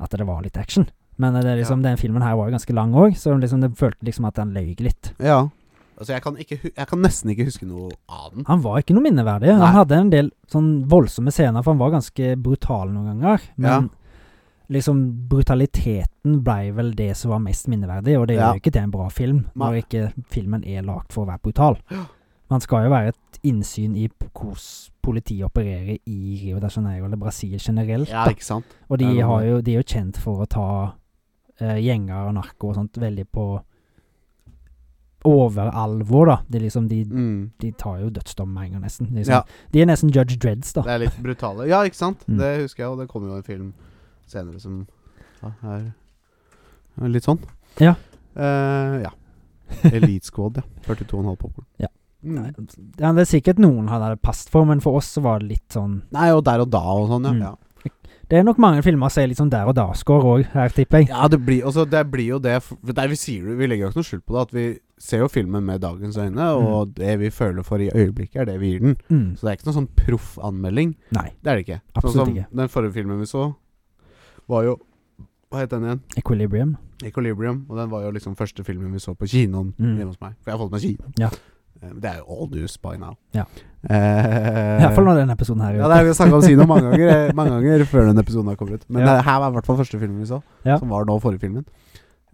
S1: at det var litt action. Men det er liksom, den filmen her var jo ganske lang òg, så liksom, det følte liksom at den løy litt.
S2: Ja. Altså, jeg kan, ikke, hu- jeg kan nesten ikke huske noe av den.
S1: Han var ikke noe minneverdig.
S2: Nei.
S1: Han hadde en del sånn voldsomme scener, for han var ganske brutal noen ganger. Men
S2: Ja.
S1: liksom brutaliteten blei vel det som var mest minneverdig, og det
S2: Ja.
S1: gjør jo ikke til en bra film
S2: Nei.
S1: når ikke filmen er lagd for å være brutal.
S2: Ja.
S1: Man skal jo være et innsyn i p- hvordan politiet opererer i Rio de Janeiro eller Brasil generelt.
S2: Ja,
S1: da.
S2: ikke sant?
S1: Og de,
S2: Det er noe
S1: har
S2: med-
S1: jo, de er jo kjent for å ta eh, gjenger og narko og sånt veldig på overalvor, da. De, liksom, de,
S2: Mm.
S1: de tar jo dødsdom med en gang, nesten. Liksom.
S2: Ja.
S1: De er nesten Judge Dreds, da.
S2: Det er litt brutale. Ja, ikke sant?
S1: Mm.
S2: Det husker jeg, og det kom jo en film senere som ja, er er litt sånn.
S1: Ja.
S2: Eh, ja. Elite Squad, ja. 42,5 popkorn.
S1: Ja.
S2: Mm.
S1: Nei, Ja, det er sikkert noen han hadde passet for, men for oss så var det litt sånn
S2: Nei, og der og da og sånn, ja.
S1: Mm.
S2: ja.
S1: Det er nok mange filmer som er litt sånn der og da-score òg, her, tipper jeg.
S2: Ja, det blir, altså, det blir jo det f- for der vi, sier, jo- vi legger jo ikke noe skjul på det, at vi ser jo filmen med dagens øyne, og det vi føler for i øyeblikket, er det vi gir den.
S1: Mm.
S2: Så det er ikke noen sånn proff anmelding.
S1: Nei.
S2: Det er det ikke.
S1: Absolutt
S2: sånn som
S1: ikke.
S2: Den forrige filmen vi så, var jo Hva het den igjen?
S1: Equilibrium.
S2: Equilibrium. Og den var jo liksom første filmen vi så på kinoen
S1: Mm.
S2: hjemme hos meg. For jeg har fått meg kino.
S1: Ja.
S2: Eh, Det er jo all news by now.
S1: Ja.
S2: Eh,
S1: I hvert fall når denne episoden her er
S2: ja,
S1: ute.
S2: det er, Vi har snakka om kino mange ganger, eh, mange ganger før den episoden har kommet ut. Men
S1: Ja.
S2: det her var i hvert fall første filmen vi så,
S1: Ja.
S2: som var nå forrige filmen.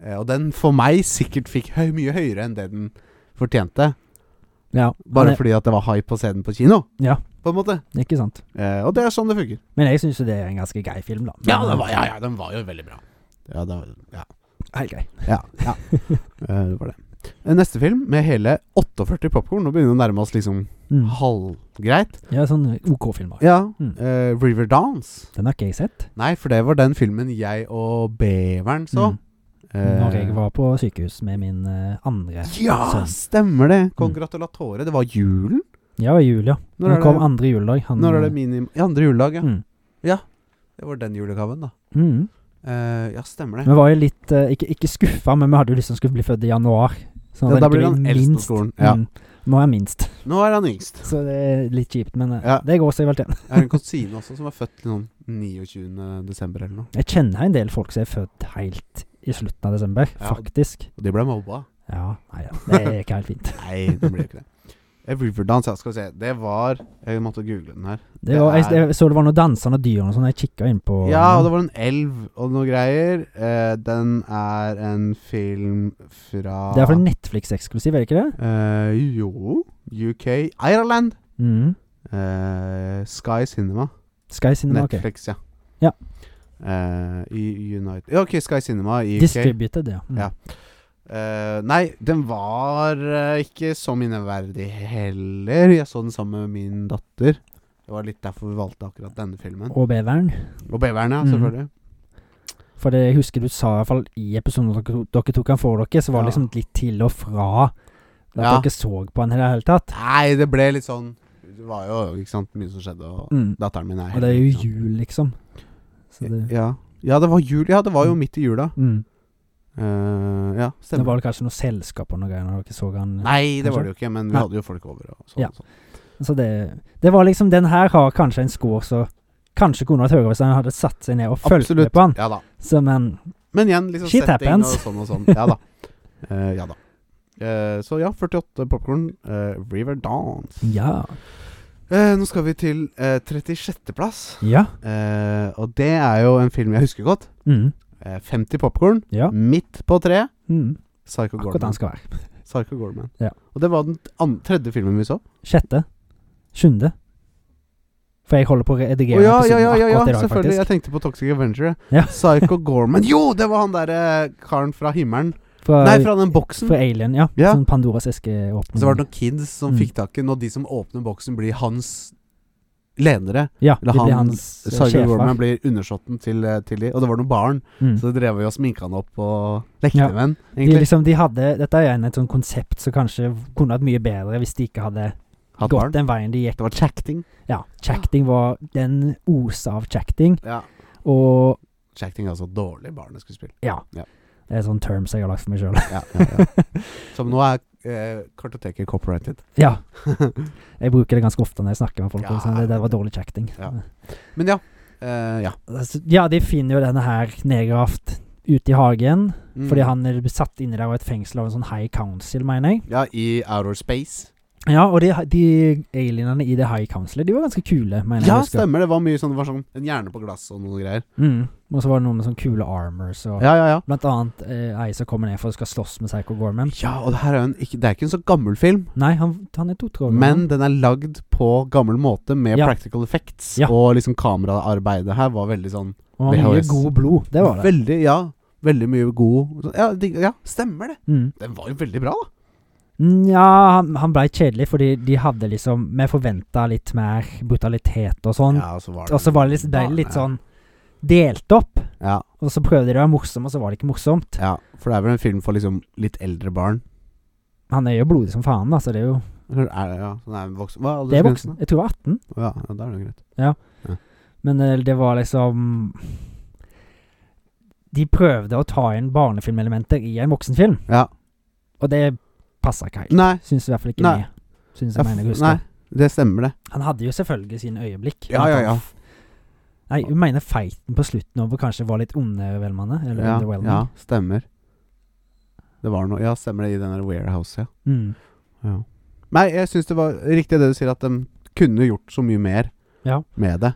S2: Eh, og den for meg sikkert fikk høy, mye høyere enn det den fortjente.
S1: Ja,
S2: Bare
S1: han er-
S2: fordi at det var hype å se den på kino,
S1: Ja.
S2: på en måte.
S1: Ikke sant.
S2: Eh, og det er sånn det funker.
S1: Men jeg syns jo det er en ganske grei film, da.
S2: Ja,
S1: Men-
S2: den var, ja, ja, den var jo veldig bra. Ja, det var, ja.
S1: Helt grei.
S2: ja, ja. Eh, det var det. Eh, Neste film med hele 48 popkorn. Nå begynner vi å nærme oss liksom
S1: Mm.
S2: halvgreit.
S1: Ja, sånn OK-filmer.
S2: Ja.
S1: Mm.
S2: eh, River Dance.
S1: Den har ikke jeg sett.
S2: Nei, for det var den filmen jeg og Beveren så.
S1: Mm. Når
S2: Eh,
S1: jeg var på sykehus med min eh, andre
S2: Ja,
S1: sønn.
S2: stemmer det!
S1: Mm.
S2: Congratulatore. Det var julen.
S1: Ja, i jul, ja.
S2: Når
S1: Når
S2: er
S1: kom
S2: det-
S1: andre juledag. Han,
S2: Når er det minim... I andre juledag, ja.
S1: Mm.
S2: Det var den julegaven, da.
S1: Mm.
S2: Eh, ja, stemmer det.
S1: Vi var jo litt eh, Ikke, ikke skuffa, men vi hadde jo lyst til å skulle bli født i januar. Så
S2: Ja, da blir
S1: kunne
S2: han
S1: bli
S2: eldst på
S1: minst.
S2: skolen, ja.
S1: Mm. Nå er jeg minst,
S2: Nå er han yngst.
S1: så det er litt kjipt. Men eh,
S2: Ja.
S1: det går seg vel til.
S2: Jeg har en kusine også som er født liksom 29. desember eller noe.
S1: Jeg kjenner en del folk som er født helt i slutten av desember,
S2: Ja.
S1: faktisk.
S2: Og de ble mobba.
S1: Ja, nei da. Det er ikke helt fint.
S2: Nei, det ble jo ikke det. Eh, Riverdance, ja, skal vi se. Det var Jeg måtte google den her.
S1: Det var, jeg,
S2: Det er-
S1: jeg så det var noen dansende dyr og sånn, jeg kikka inn på
S2: Ja, og det var en elv og noe greier. Eh, den er en film fra
S1: Mm. Det er for Netflix-eksklusiv, er det ikke det?
S2: Eh, Jo. UK. Ireland.
S1: Mm.
S2: Eh, Sky Cinema.
S1: Sky Cinema, Mm, ok.
S2: Netflix,
S1: Ja.
S2: ja. Eh, I United Ja, OK, Sky Cinema i UK.
S1: Distributed, ja. Mm.
S2: Ja. Eh, nei, den var eh, ikke så minneverdig heller. Jeg så den sammen med min datter. Det var litt derfor vi valgte akkurat denne filmen.
S1: Og Beveren.
S2: Og Beveren, ja,
S1: Mhm.
S2: selvfølgelig.
S1: For det jeg husker du sa i hvert fall i episoden dere, to- dere tok han for dere, så var det
S2: Ja.
S1: liksom litt til og fra at
S2: Ja.
S1: dere så på han i det hele tatt.
S2: Nei, det ble litt sånn Det var jo ikke sant, mye som skjedde, og
S1: Mm.
S2: datteren min er
S1: Og det er jo jul, liksom. Så det,
S2: Ja. ja, det var jul. Ja, det var jo midt i jula.
S1: mm.
S2: Eh, ja,
S1: det
S2: stemmer.
S1: var det kanskje noe selskap og noe greier når dere så han.
S2: Nei, det
S1: Kanskje?
S2: var det jo ikke, men vi
S1: Nei.
S2: hadde jo folk over. Og sånn,
S1: Ja.
S2: og sånn.
S1: Så det, det var liksom Den her har kanskje en score som kanskje kunne vært høyere hvis han hadde satt seg ned og fulgt
S2: Absolutt.
S1: med på han.
S2: Ja da.
S1: Så men
S2: Men igjen, liksom
S1: Shit
S2: setting
S1: happens.
S2: og sånn og sånn. Ja da. Eh, ja da.
S1: Mm.
S2: Eh, så ja, 48 popkorn. River Dance.
S1: ja.
S2: Eh, nå skal vi til eh, 36.-plass.
S1: Ja.
S2: Eh, og det er jo en film jeg husker godt.
S1: Mm.
S2: Eh, 50 popkorn.
S1: Ja.
S2: Midt på treet.
S1: Mm.
S2: Psycho
S1: Akkurat der
S2: Gorman.
S1: den skal være.
S2: Psycho Gorman.
S1: Ja.
S2: Og det var den an tredje filmen vi så.
S1: Sjette. Sjuende. For jeg holder på å
S2: Å
S1: redigere
S2: ja, ja,
S1: episoden
S2: ja, ja, ja
S1: akkurat i dag,
S2: selvfølgelig.
S1: faktisk.
S2: Jeg tenkte på Toxic Avenger.
S1: Ja.
S2: Psycho Gorman. Jo, det var han derre eh, karen fra himmelen.
S1: Fra,
S2: Nei, fra den boksen.
S1: fra Alien, ja.
S2: Ja.
S1: Sånn Pandoras eske-åpning.
S2: Så var det noen kids som
S1: Mm.
S2: fikk tak i den, og de som åpner boksen, blir hans lenere.
S1: Ja,
S2: eller
S1: det blir
S2: han-
S1: hans eh,
S2: Psycho
S1: sjefer.
S2: Gorman blir undersåtten til, eh, til de, og det var noen barn.
S1: Mm.
S2: Så drev vi og sminka han opp og lekte
S1: Ja.
S2: med han,
S1: De,
S2: egentlig.
S1: liksom, de hadde, dette er igjen et sånn konsept som kanskje kunne vært mye bedre hvis de ikke hadde
S2: Hatt
S1: gått
S2: barn.
S1: den veien de gikk.
S2: Det var chacting.
S1: Ja, Chacting var Den osa av chacting,
S2: Ja.
S1: og
S2: Chacting er altså dårlig barneskuespill.
S1: ja.
S2: Ja.
S1: Det er sånn terms jeg har lagt for meg sjøl.
S2: Ja, ja, ja. Som nå er eh, kartoteket copyrighted.
S1: ja. Jeg bruker det ganske ofte når jeg snakker med folk.
S2: Ja,
S1: sånn, det, det var
S2: det-
S1: dårlig chacting.
S2: Ja. Men ja. eh, ja.
S1: Altså, ja, de finner jo denne her nedgravd ute i hagen,
S2: Mm.
S1: fordi han er satt inni der og et fengsel av en sånn high council, mener jeg.
S2: Ja, i Outer Space.
S1: Ja, og de, de alienene i det high councilet, de var ganske kule, mener jeg.
S2: Ja,
S1: å huske.
S2: stemmer. Det var mye sånn, det var sånn en hjerne på glass og noen greier.
S1: Mm. Og så var det noe med sånn kule armors og
S2: Ja, ja, ja.
S1: Blant annet eh, ei som kommer ned for å skal slåss med Psycho Gorman.
S2: Ja, og det her er jo en ikke, Det er ikke en så gammel film,
S1: Nei, han, han er to-tre år
S2: men
S1: gammel.
S2: den er lagd på gammel måte med
S1: Ja.
S2: practical effects,
S1: Ja.
S2: og liksom kameraarbeidet her var veldig sånn
S1: Og han har mye
S2: VHS.
S1: god blod. Det var det.
S2: Veldig, ja. Veldig mye god sånn- Ja, det- ja stemmer det.
S1: Mm.
S2: Den var jo veldig bra, da.
S1: Nja, han, han blei kjedelig fordi de hadde liksom Vi forventa litt mer brutalitet og sånn.
S2: ja, og så var
S1: Og så var det litt, ble det
S2: Ja.
S1: litt sånn delt opp.
S2: Ja,
S1: Og så prøvde de å være morsomme, og så var det ikke morsomt.
S2: ja. For det er vel en film for liksom litt eldre barn.
S1: Han er jo blodig som faen, da, så det er jo
S2: Eller Er det, ja, så det er voksen. Hva
S1: Det er
S2: aldersgrensen?
S1: voksen. Jeg tror det var 18.
S2: Ja, ja, da er det greit.
S1: Men eh, det var liksom De prøvde å ta inn barnefilmelementer i en voksenfilm,
S2: Ja.
S1: og det passa ikke helt.
S2: Nei.
S1: Syns i hvert fall ikke
S2: Nei.
S1: jeg.
S2: Jeg
S1: Syns
S2: f-
S1: jeg mener jeg
S2: nei.
S1: husker.
S2: Det stemmer, det.
S1: Han hadde jo selvfølgelig sine øyeblikk.
S2: Ja, ja, ja.
S1: Nei, hun mener fighten på slutten over kanskje var litt undervelmende. Eller
S2: Ja,
S1: underwhelming.
S2: ja, stemmer. Det var noe Ja, stemmer det, i den der warehouse, ja.
S1: Mm.
S2: Ja. Nei, jeg syns det var riktig det du sier, at de kunne gjort så mye mer
S1: Ja.
S2: med det.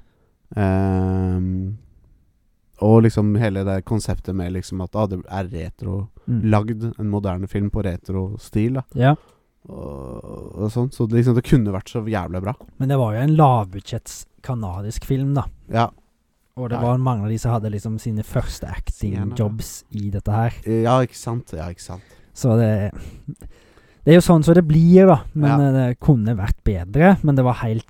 S2: Ehm, og liksom hele det konseptet med liksom at ah, det er retro
S1: Mm.
S2: Lagd en moderne film på retrostil, da.
S1: ja.
S2: Og, og sånn. Så det, liksom, det kunne vært så jævlig bra.
S1: Men det var jo en lavbudsjetts kanadisk film, da.
S2: Ja.
S1: Og det
S2: Ja.
S1: var mange av de som hadde liksom sine første acting
S2: Gjerne, ja.
S1: jobs i dette her.
S2: ja, ikke sant? Ja, ikke sant.
S1: Så det Det er jo sånn som det blir, da. Men
S2: Ja.
S1: eh, det kunne vært bedre. Men det var helt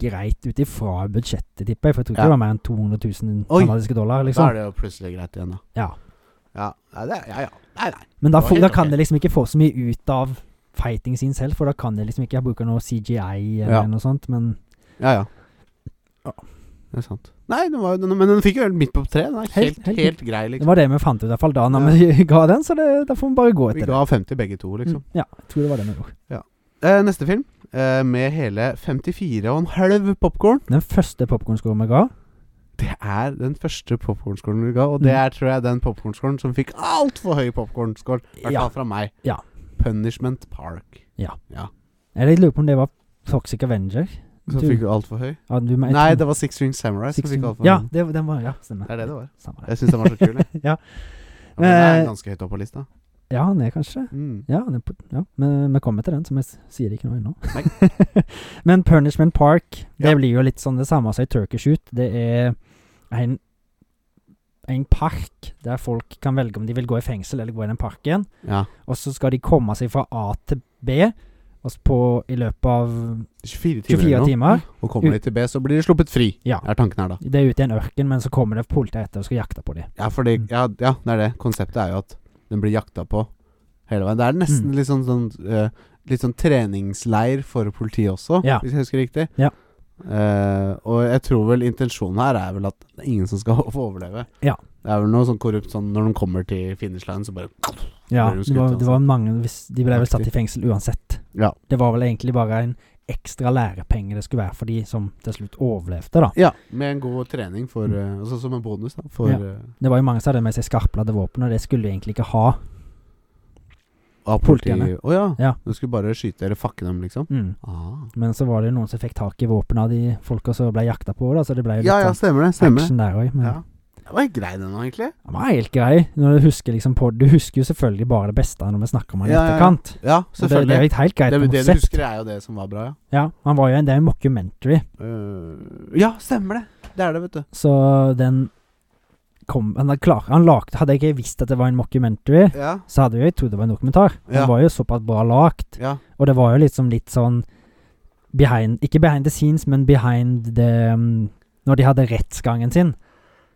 S1: greit ut ifra budsjettet, tipper jeg. For jeg tror ikke
S2: Ja.
S1: det var mer enn 200 000
S2: Oi.
S1: kanadiske dollar,
S2: Da
S1: liksom.
S2: er det jo plutselig greit igjen, da.
S1: Ja.
S2: Ja, ja, det, ja. ja. Nei, nei.
S1: Men da,
S2: det var
S1: får-
S2: helt
S1: da kan
S2: ok.
S1: det liksom ikke få så mye ut av fighting sin selv, for da kan det liksom ikke Jeg bruker noe CGI eller
S2: Ja.
S1: noe sånt, men
S2: Ja, ja.
S1: Ja.
S2: Det er sant. Nei, den var, den, men den fikk jo helt midt på treet. Den er
S1: Helt-
S2: helt,
S1: helt
S2: helt, grei,
S1: det
S2: liksom.
S1: var det vi fant ut i hvert fall da når vi ga den, så det, da får vi bare gå
S2: Vi
S1: etter det.
S2: ga 50 begge to, liksom.
S1: Mm, Ja, jeg tror det var det vi gjorde.
S2: Eh, neste film, eh, med hele 54,5 popkorn.
S1: Den første popkornskolen vi ga,
S2: Det er den første popkornskålen du ga, og det
S1: Mm.
S2: er tror jeg den popkornskålen som fikk altfor høy popkornskål. I hvert
S1: Ja.
S2: fall fra meg.
S1: Ja.
S2: Punishment Park.
S1: eller jeg lurer på om det var Toxic Avenger.
S2: Som
S1: Du-
S2: fikk altfor høy.
S1: Ja, du, men jeg
S2: Nei,
S1: tror-
S2: det var Six String Samurai som fikk
S1: 16
S2: altfor høy.
S1: Ja, det, den var Ja, stemmer.
S2: Det er det det var.
S1: Samme det.
S2: Jeg syns den var så kul, jeg.
S1: Ja.
S2: Ja, men den
S1: Eh,
S2: er ganske høyt opp på lista.
S1: Ja, han er kanskje
S2: Mm.
S1: Ja, han er på, ja. Men vi kommer til den, så vi s- sier ikke noe
S2: Nei.
S1: ennå. Men Punishment Park, det
S2: Ja.
S1: blir jo litt sånn det samme som i Turkish Shoot. Det er en, en park der folk kan velge om de vil gå i fengsel eller gå i den parken.
S2: Ja.
S1: Og så skal de komme seg fra A til B og s- på, i løpet av
S2: 24 timer.
S1: 24
S2: eller noe.
S1: timer.
S2: Og kommer de til B, så blir de sluppet fri.
S1: Ja.
S2: Er tanken her, da.
S1: Det er ute i en ørken, men så kommer det politi etter og skal jakte på dem.
S2: Ja, fordi,
S1: Mm.
S2: ja, ja, det er det. Konseptet er jo at den blir jakta på hele veien. Det er nesten
S1: Mm.
S2: litt sånn, sånn eh, Litt sånn treningsleir for politiet også,
S1: Ja.
S2: hvis jeg husker riktig.
S1: Ja.
S2: Eh, og jeg tror vel intensjonen her er vel at det er ingen som skal få overleve.
S1: Ja.
S2: Det er vel noe sånn korrupt sånn når de kommer til finish line, så bare
S1: Ja,
S2: Ble du
S1: det var,
S2: skutt, altså.
S1: det var mange hvis, De ble vel satt i
S2: Aktiv.
S1: fengsel uansett.
S2: Ja.
S1: Det var vel egentlig bare en ekstra lærepenge det skulle være for de som til slutt overlevde, da.
S2: Ja, med en god trening for eh, altså Som en bonus, da. For
S1: Mm. Ja.
S2: eh,
S1: Det var jo mange som hadde med seg skarpladde våpen, og det skulle du egentlig ikke ha.
S2: Å Av politiet? Å
S1: Politiene.
S2: ja.
S1: Ja.
S2: Du skulle bare skyte eller fakke dem, liksom?
S1: Mm.
S2: Ah.
S1: Men så var det jo noen som fikk tak i våpenet av de folka som ble jakta på, da, så det ble jo litt
S2: Ja, ja, stemmer det. Stemmer
S1: sånn
S2: det.
S1: action der òg. Men
S2: Ja. Det var grei den, nå, egentlig.
S1: han var helt grei. Når du, husker liksom på, du husker jo selvfølgelig bare det beste når vi snakker om han i
S2: Ja, ja, ja.
S1: etterkant.
S2: Ja,
S1: Og Det, det er
S2: selvfølgelig.
S1: jo et helt
S2: Det,
S1: greit
S2: det, du
S1: konsept.
S2: husker, er jo det som var bra, ja.
S1: Ja, han var jo en, det er en mockumentary,
S2: Øh, ja, stemmer det. Det er det, vet du.
S1: så den kom Han, er klar, han lagde, Hadde jeg ikke visst at det var en mockumentary,
S2: Ja.
S1: så hadde jeg jo trodd det var en dokumentar. Den
S2: Ja.
S1: var jo såpass bra lagt,
S2: ja.
S1: og det var jo liksom litt sånn behind Ikke behind the scenes, men behind the um, Når de hadde rettsgangen sin.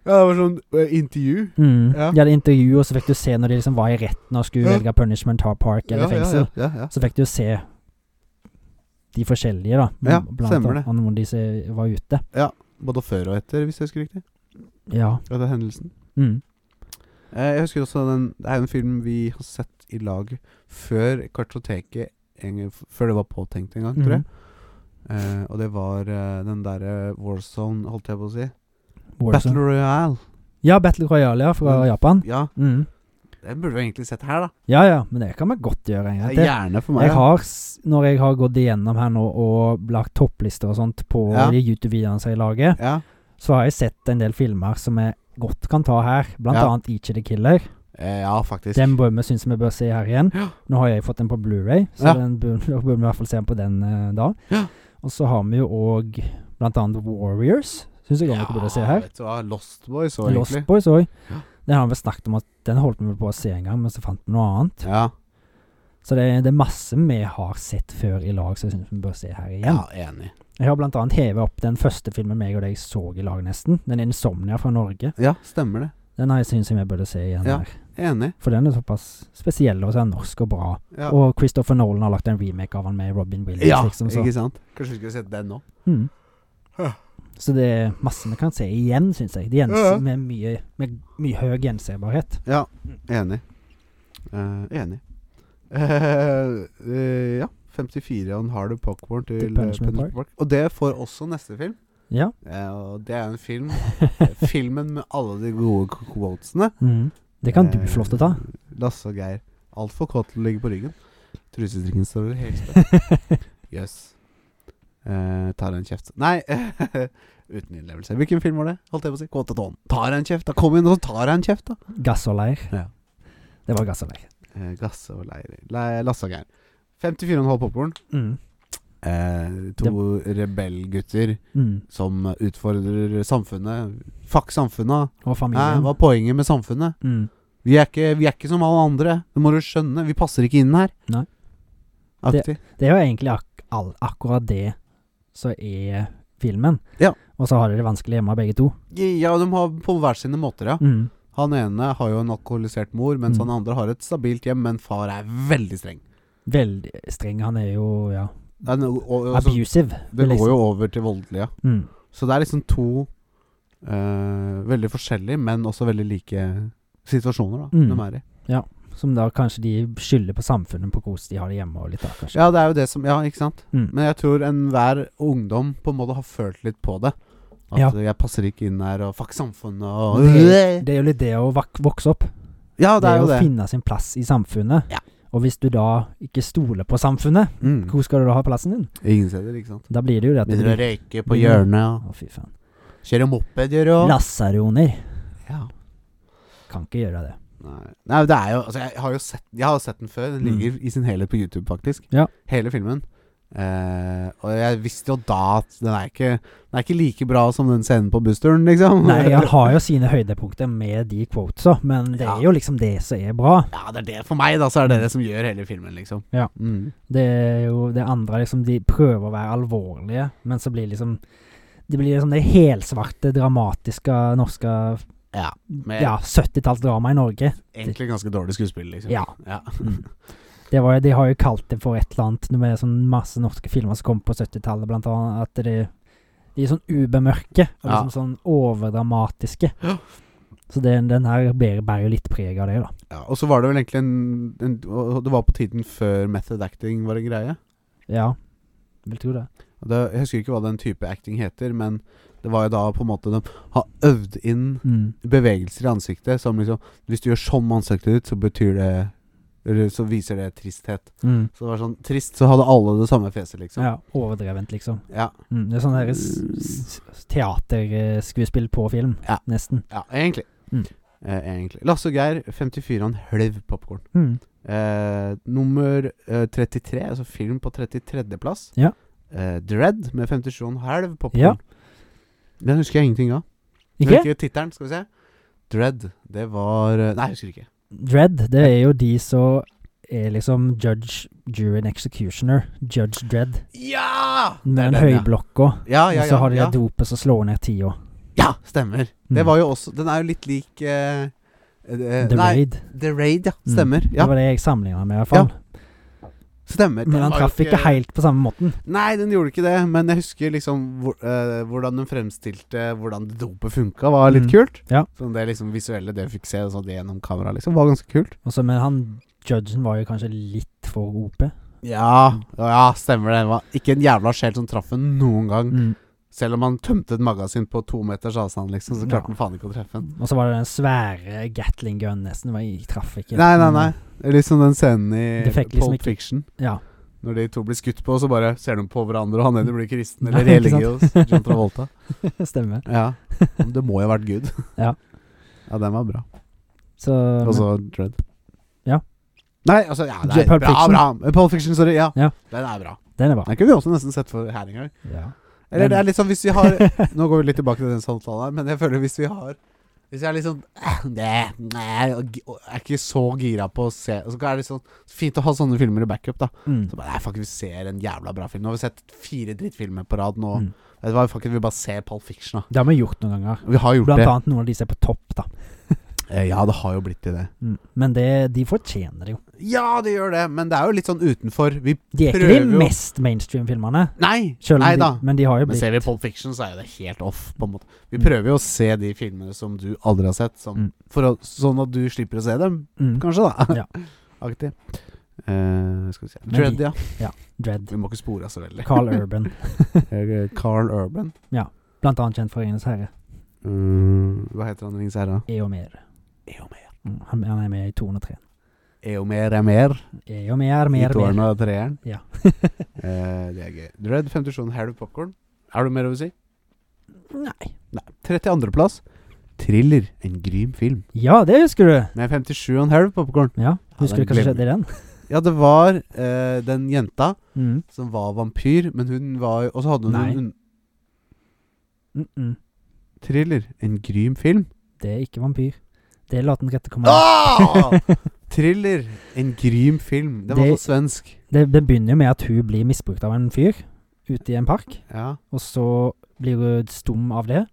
S2: Ja, det var sånn eh, intervju.
S1: Mm.
S2: Ja.
S1: De hadde intervju, og så fikk du se når de liksom var i retten og skulle
S2: Ja.
S1: velge punishment ha park
S2: ja,
S1: eller fengsel.
S2: Ja, ja, ja,
S1: Så fikk du se de forskjellige, da.
S2: Ja,
S1: blant
S2: stemmer
S1: annet
S2: det.
S1: Når de se- var ute.
S2: ja. Både før og etter, hvis jeg husker riktig.
S1: Ja.
S2: Ja, det er hendelsen.
S1: Mm.
S2: Eh, jeg husker også den Det er jo en film vi har sett i lag før Kartoteket en, Før det var påtenkt en gang, tror jeg.
S1: Mm.
S2: Eh, og det var eh, den derre Warzone, holdt jeg på å si.
S1: Warzone.
S2: Battle Royale.
S1: Mm. Ja, Battle Royale ja, fra
S2: Mm.
S1: Japan.
S2: Ja,
S1: Mm.
S2: den burde vi egentlig sett her, da.
S1: Ja ja, men det kan vi godt gjøre en gang til.
S2: Gjerne for meg.
S1: jeg
S2: ja.
S1: har, s- når jeg har gått igjennom her nå og lagt topplister og sånt på
S2: Ja.
S1: de YouTube-videoene som jeg lager,
S2: Ja.
S1: så har jeg sett en del filmer som jeg godt kan ta her, blant
S2: Ja.
S1: annet Each of the Killer.
S2: Eh, ja, faktisk.
S1: Den bør vi synes vi bør se her igjen.
S2: Ja.
S1: Nå har jeg fått den på Blu-ray, så
S2: Ja.
S1: den bør, da bør vi i hvert fall se den på den eh, da.
S2: Ja.
S1: Og så har vi jo òg blant annet Warriors, syns jeg også vi burde se her.
S2: vet du hva. Lost Boys òg,
S1: Lost
S2: egentlig.
S1: Boys òg.
S2: Ja.
S1: Den har vi snakket om at den holdt vi vel på å se en gang, men så fant vi noe annet.
S2: Ja.
S1: Så det, det er masse vi har sett før i lag, så jeg syns vi bør se her igjen.
S2: ja, enig.
S1: Jeg har blant annet hevet opp den første filmen meg og deg så i lag, nesten. Den 'Insomnia' fra Norge.
S2: Ja, stemmer det.
S1: Den har jeg syns jeg vi burde se igjen
S2: Ja.
S1: her.
S2: Enig.
S1: For den er såpass spesiell, og så er den norsk og bra.
S2: Ja,
S1: Og Christopher Nolan har lagt en remake av han med Robin Williams,
S2: ja
S1: liksom. Så.
S2: ikke sant? Kanskje vi skulle sett den nå?
S1: Mm.
S2: Huh.
S1: så det er masse vi kan se igjen, syns jeg. Det gjens-
S2: Ja, ja.
S1: Med, mye, med mye høy gjensebarhet.
S2: Ja, enig. Eh, enig. Eh, eh, ja. 54 on hard popcorn til,
S1: Til
S2: eh,
S1: Punishment
S2: Punishment
S1: Park.
S2: Park. Og det får også neste film.
S1: Ja.
S2: Eh, og det er en film Filmen med alle de gode k- quotesene.
S1: Mm. Det kan du
S2: Eh,
S1: få lov til å ta.
S2: Lasse og Geir. Altfor kåt til å ligge på ryggen. Trusestrikken står over hele Jøss. Eh, tar en kjeft Nei, uten innlevelse. Hvilken film var det? Holdt jeg på å si. Kåte tåen. Tar en kjeft, da. Kom inn, og så tar jeg en kjeft, da.
S1: Gass og leir.
S2: Eh. Ja.
S1: Det var gass og leir.
S2: Eh, Gasse og Leir. Le Lasse og Geir. 54,5 popkorn.
S1: Mm.
S2: Eh, to rebellgutter
S1: Mm.
S2: som utfordrer samfunnet. Fuck samfunnet.
S1: Og
S2: Nei,
S1: familien.
S2: Ah, hva er poenget med samfunnet?
S1: mm.
S2: Vi er, ikke, vi er ikke som alle andre. Det må du skjønne. Vi passer ikke inn her.
S1: Nei.
S2: Aktig.
S1: Det er jo egentlig ak all, akkurat det som er filmen.
S2: Ja.
S1: Og så har de det vanskelig hjemme, begge to.
S2: Ja, de har på hver sine måter, ja.
S1: Mm.
S2: Han ene har jo en alkoholisert mor, mens
S1: Mm.
S2: han andre har et stabilt hjem, men far er veldig streng.
S1: Veldig streng. Han er jo ja,
S2: Det, er no- og, og- altså,
S1: abusive.
S2: det
S1: vil jeg
S2: går
S1: si.
S2: jo over til voldelig, ja.
S1: mm.
S2: Så det er liksom to eh, veldig forskjellige, men også veldig like situasjoner da,
S1: Mm.
S2: de er i.
S1: Som da kanskje de skylder på samfunnet på hvordan de har det hjemme og litt da, kanskje.
S2: Ja, det er jo det som Ja, ikke sant?
S1: Mm.
S2: Men jeg tror enhver ungdom på en måte har følt litt på det. At
S1: Ja.
S2: jeg passer ikke inn her, og fuck samfunnet og Øh.
S1: Det, det er jo litt det å vak vokse opp.
S2: Ja,
S1: det, er å finne sin plass i samfunnet.
S2: Ja.
S1: Og hvis du da ikke stoler på samfunnet,
S2: Mm.
S1: hvor skal du da ha plassen din?
S2: Ingen steder, ikke sant.
S1: Da blir det jo det at
S2: Begynner å
S1: det blir
S2: røyke på hjørnet,
S1: Å, fy faen.
S2: og kjøre moped, gjør du òg.
S1: Lasaroner
S2: Ja.
S1: kan ikke gjøre det.
S2: Nei. Nei, det er jo Altså, jeg har jo sett, jeg har sett den før. Den
S1: Mm.
S2: ligger i sin helhet på YouTube, faktisk.
S1: Ja.
S2: Hele filmen. Eh, og jeg visste jo da at den er ikke Den er ikke like bra som den scenen på bussturen, liksom.
S1: Nei, han har jo sine høydepunkter med de quotesa, men det
S2: Ja.
S1: er jo liksom det som er bra.
S2: Ja, det er det for meg, da. Så er det det som gjør hele filmen, liksom.
S1: Ja.
S2: Mm.
S1: Det er jo det andre liksom De prøver å være alvorlige, men så blir liksom Det blir liksom det helsvarte, dramatiske norske
S2: ja. Med
S1: Ja, 70-tallsdramaet i Norge.
S2: egentlig ganske dårlig skuespill, liksom.
S1: Ja. Det var, jo- de har jo kalt det for et eller annet når det er sånn masse norske filmer som kom på 70-tallet, blant annet. At det, de er sånn ubemørke, og
S2: Ja.
S1: liksom sånn overdramatiske.
S2: Ja.
S1: Så den, den her bærer, bærer jo litt preg av det, da.
S2: Ja, og så var det vel egentlig en, en og Det var på tiden før method acting var en greie.
S1: Ja, vil tro det.
S2: Og det, jeg husker ikke hva den type acting heter, men det var jo da på en måte de har øvd inn
S1: Mm.
S2: bevegelser i ansiktet som liksom Hvis du gjør sånn med ansiktet ditt, så betyr det Eller så viser det tristhet.
S1: Mm.
S2: Så det var sånn Trist, så hadde alle det samme fjeset, liksom.
S1: Ja, overdrevent, liksom.
S2: Ja.
S1: Mm, det er sånn her s- s- teaterskuespill på film,
S2: Ja.
S1: nesten.
S2: ja egentlig.
S1: Mm.
S2: Eh, egentlig. Lasse og Geir, 54, han hlev popkorn.
S1: Mm.
S2: Eh, nummer eh, 33, altså film på 33.-plass.
S1: Ja.
S2: Eh, Dread med 57,5 popkorn.
S1: Ja.
S2: Den husker jeg ingenting av. Jeg
S1: Ikke?
S2: husker tittelen, skal vi se. Dread, det var eh, Nei, jeg husker ikke.
S1: Dread, det er jo de som er liksom judge, jury and executioner. Judge Dread.
S2: Ja! Det er
S1: Med den
S2: den, ja.
S1: høyblokka.
S2: Ja, ja,
S1: og
S2: ja,
S1: så har de
S2: ja.
S1: det dopet som slår ned tida.
S2: Ja, stemmer. Det
S1: Mm.
S2: var jo også Den er jo litt lik eh, eh,
S1: The
S2: nei,
S1: Raid.
S2: The Raid, ja.
S1: Mm.
S2: Stemmer.
S1: Det
S2: Ja,
S1: var det jeg sammenligna med, i hvert fall.
S2: stemmer. Den
S1: Men han
S2: var jo
S1: traff ikke helt på samme måten.
S2: Nei, den gjorde ikke det, men jeg husker liksom hvor, eh, hvordan den fremstilte hvordan det dopet funka, var litt
S1: Mm.
S2: kult.
S1: Ja.
S2: Sånn det liksom visuelle det vi fikk se sånn det gjennom kamera, liksom, var ganske kult.
S1: Og så- men han judgen var jo kanskje litt for OP.
S2: Ja, ja, stemmer det. det. Var ikke en jævla sjel som traff en noen gang.
S1: Mm.
S2: Selv om han tømte et magasin på to meters avstand, liksom, så
S1: Ja.
S2: klarte han faen ikke å treffe den.
S1: Og så var det den svære Gatling gun, nesten. Det var- Jeg traff ikke.
S2: Nei, nei,
S1: Men,
S2: nei. Det er Liksom den scenen i
S1: Mm. Det fikk liksom
S2: Pulp
S1: ikke-
S2: Fiction.
S1: Ja.
S2: Når de to blir skutt på, så bare ser de på hverandre, og han ene blir kristen eller
S1: Nei, ikke
S2: religiøs. John Travolta.
S1: Stemmer.
S2: Ja. Men Det må jo ha vært Gud.
S1: Ja.
S2: Ja, den var bra.
S1: Så
S2: Og så Altså Dread.
S1: eh, Ja.
S2: Nei, altså ja, nei,
S1: Ja, Pulp
S2: bra,
S1: Fiction.
S2: bra. Eh, Pulp Fiction, sorry. Ja.
S1: Ja.
S2: Den er bra.
S1: men- den er bra.
S2: Den kunne vi også nesten sett for her en gang.
S1: Ja.
S2: Eller
S1: Den-
S2: det er litt sånn hvis vi har Nå går vi litt tilbake til den samtalen her, men jeg føler hvis vi har Hvis jeg er litt sånn eh, Nei, nei og gi- og er ikke så gira på å se Så er det sånn fint å ha sånne filmer i backup, da.
S1: Mm.
S2: Så bare, nei, fuck, vi ser en jævla bra film. Nå har vi sett fire drittfilmer på rad nå.
S1: Mm.
S2: Vet du hva, fuck it, vi bare ser Pulp Fiction, da.
S1: Det har vi gjort noen ganger.
S2: Vi har gjort
S1: Blant
S2: det.
S1: annet noen av de som er på topp, da.
S2: Eh, Ja, det har jo blitt til det.
S1: Mm. Men det, de fortjener det jo.
S2: Ja, det gjør det, men det er jo litt sånn utenfor. Vi
S1: De er ikke
S2: Prøver
S1: de
S2: jo.
S1: mest mainstream filmene.
S2: Nei!
S1: Selv om
S2: nei da.
S1: de, men de har jo
S2: Men
S1: blitt
S2: ser vi Pulp Fiction, så er jo det helt off, på en måte. Vi
S1: Mm.
S2: prøver jo å se de filmene som du aldri har sett, som,
S1: Mm.
S2: for å, sånn at du slipper å se dem,
S1: mm.
S2: kanskje, da.
S1: Ja.
S2: Aktig. Eh, skal vi se
S1: Men
S2: Dread,
S1: de-
S2: ja.
S1: Dread.
S2: Vi må ikke spore oss så veldig.
S1: Carl Urban.
S2: Eh, Carl Urban.
S1: Blant annet kjent fra Ringenes herre.
S2: Mm, hva heter han i Ringens herre?
S1: Eomer.
S2: Eomer.
S1: Mm. Han, han er med i 203.
S2: Eomer er mer.
S1: Eomer, mer,
S2: I toeren
S1: mer.
S2: og treeren.
S1: Ja.
S2: Eh, det er gøy. Dread 57 Harry Popcorn. Er du mer å si?
S1: Nei.
S2: Nei. 32.-plass. Thriller. En grym film.
S1: Ja, det husker du!
S2: Med 57 og en halv popkorn.
S1: Ja, Husker
S2: den
S1: du hva som
S2: glemmer
S1: skjedde i den?
S2: Ja, det var eh, den jenta
S1: Mm.
S2: som var vampyr, men hun var Og så hadde hun
S1: Nei.
S2: en un-
S1: Mm -mm.
S2: thriller. En grym film.
S1: Det er ikke vampyr. Det lar den rette komme.
S2: Ah! thriller. En grym film. Den var
S1: Det-
S2: så svensk.
S1: Det, det begynner jo med at hun blir misbrukt av en fyr ute i en park.
S2: Ja.
S1: Og så blir hun stum av det.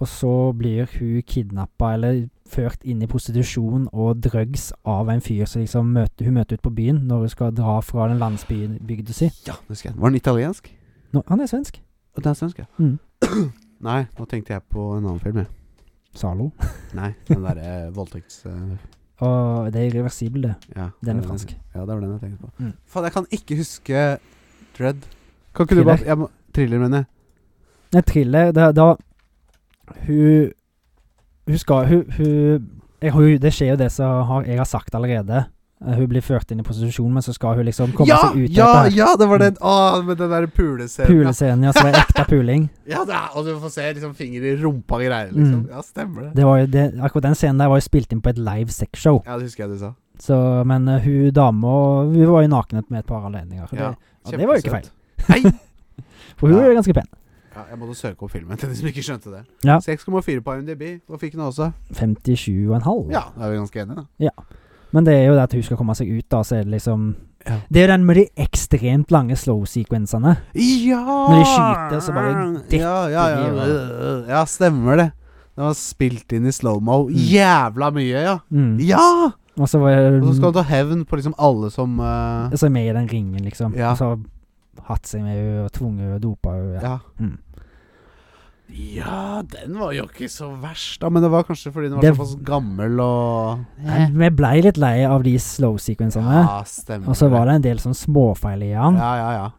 S1: Og så blir hun kidnappa eller ført inn i prostitusjon og drugs av en fyr som liksom møter, hun møter ut på byen når hun skal dra fra den landsbygda si.
S2: ja nå husker jeg. Var den italiensk?
S1: Nå, han er svensk.
S2: Og den er svensk, ja.
S1: Mm.
S2: Nei, nå tenkte jeg på en annen film, jeg.
S1: Zalo.
S2: Nei, den derre eh, voldtekts... eh,
S1: Og det er irreversibel, det.
S2: Ja,
S1: Den er
S2: det
S1: fransk.
S2: Ja, det var den jeg tenkte på.
S1: Mm.
S2: Faen, jeg kan ikke huske Dread. Kan ikke du
S1: Thriller.
S2: bare jeg må, Thriller, mener jeg.
S1: Nei, thriller Da, da Hun Hun skal Hun, hun, jeg, hun Det skjer jo det som har, jeg har sagt allerede. Eh, Hun blir ført inn i prostitusjon, men så skal hun liksom komme
S2: ja,
S1: seg ut
S2: ja,
S1: av dette.
S2: ja, det var den Å, med den der pulescenen. ja.
S1: Pulescenen, ja. Som er ekte puling.
S2: Ja, det er, og du får se liksom finger i rumpa og greier, liksom.
S1: Mm.
S2: Ja, stemmer det.
S1: Det var jo det, akkurat den scenen der var jo spilt inn på et live sexshow.
S2: Ja, det husker jeg du sa.
S1: Så, men eh, hun dama Hun var jo nakenet med et par anledninger.
S2: Ja,
S1: Det, ja, det var jo ikke
S2: kjempesøt.
S1: feil. For hun
S2: Ja.
S1: er jo ganske pen.
S2: Ja, jeg måtte søke opp filmen til de som ikke skjønte det.
S1: Ja.
S2: 6,4 på IMDb. Hva fikk den også?
S1: 57,5.
S2: Ja, da er vi ganske enige, da.
S1: Men det er jo det at hun skal komme seg ut, da, så er det liksom
S2: Ja.
S1: Det er jo den med de ekstremt lange slow-sekvensene.
S2: Ja!
S1: Når de skyter, så bare detter
S2: ja, ja,
S1: de,
S2: ja, ja.
S1: og-
S2: ja, stemmer det. Den var spilt inn i slow-mo jævla mye, ja.
S1: Mm.
S2: Ja!
S1: Og så var det
S2: Og så skal han ta hevn på liksom alle som eh,
S1: Så er med i den ringen, liksom.
S2: Ja.
S1: Og så har hatt seg med henne og tvunget henne og dopa henne. Ja.
S2: Ja.
S1: Mm.
S2: Ja, den var jo ikke så verst, da. Men det var kanskje fordi den var
S1: Det-
S2: såpass gammel og
S1: Men Vi blei litt lei av de slow-sekvensene.
S2: Ja, stemmer
S1: sånn, Og så var det en del sånn småfeil i han.
S2: Ja, ja, ja.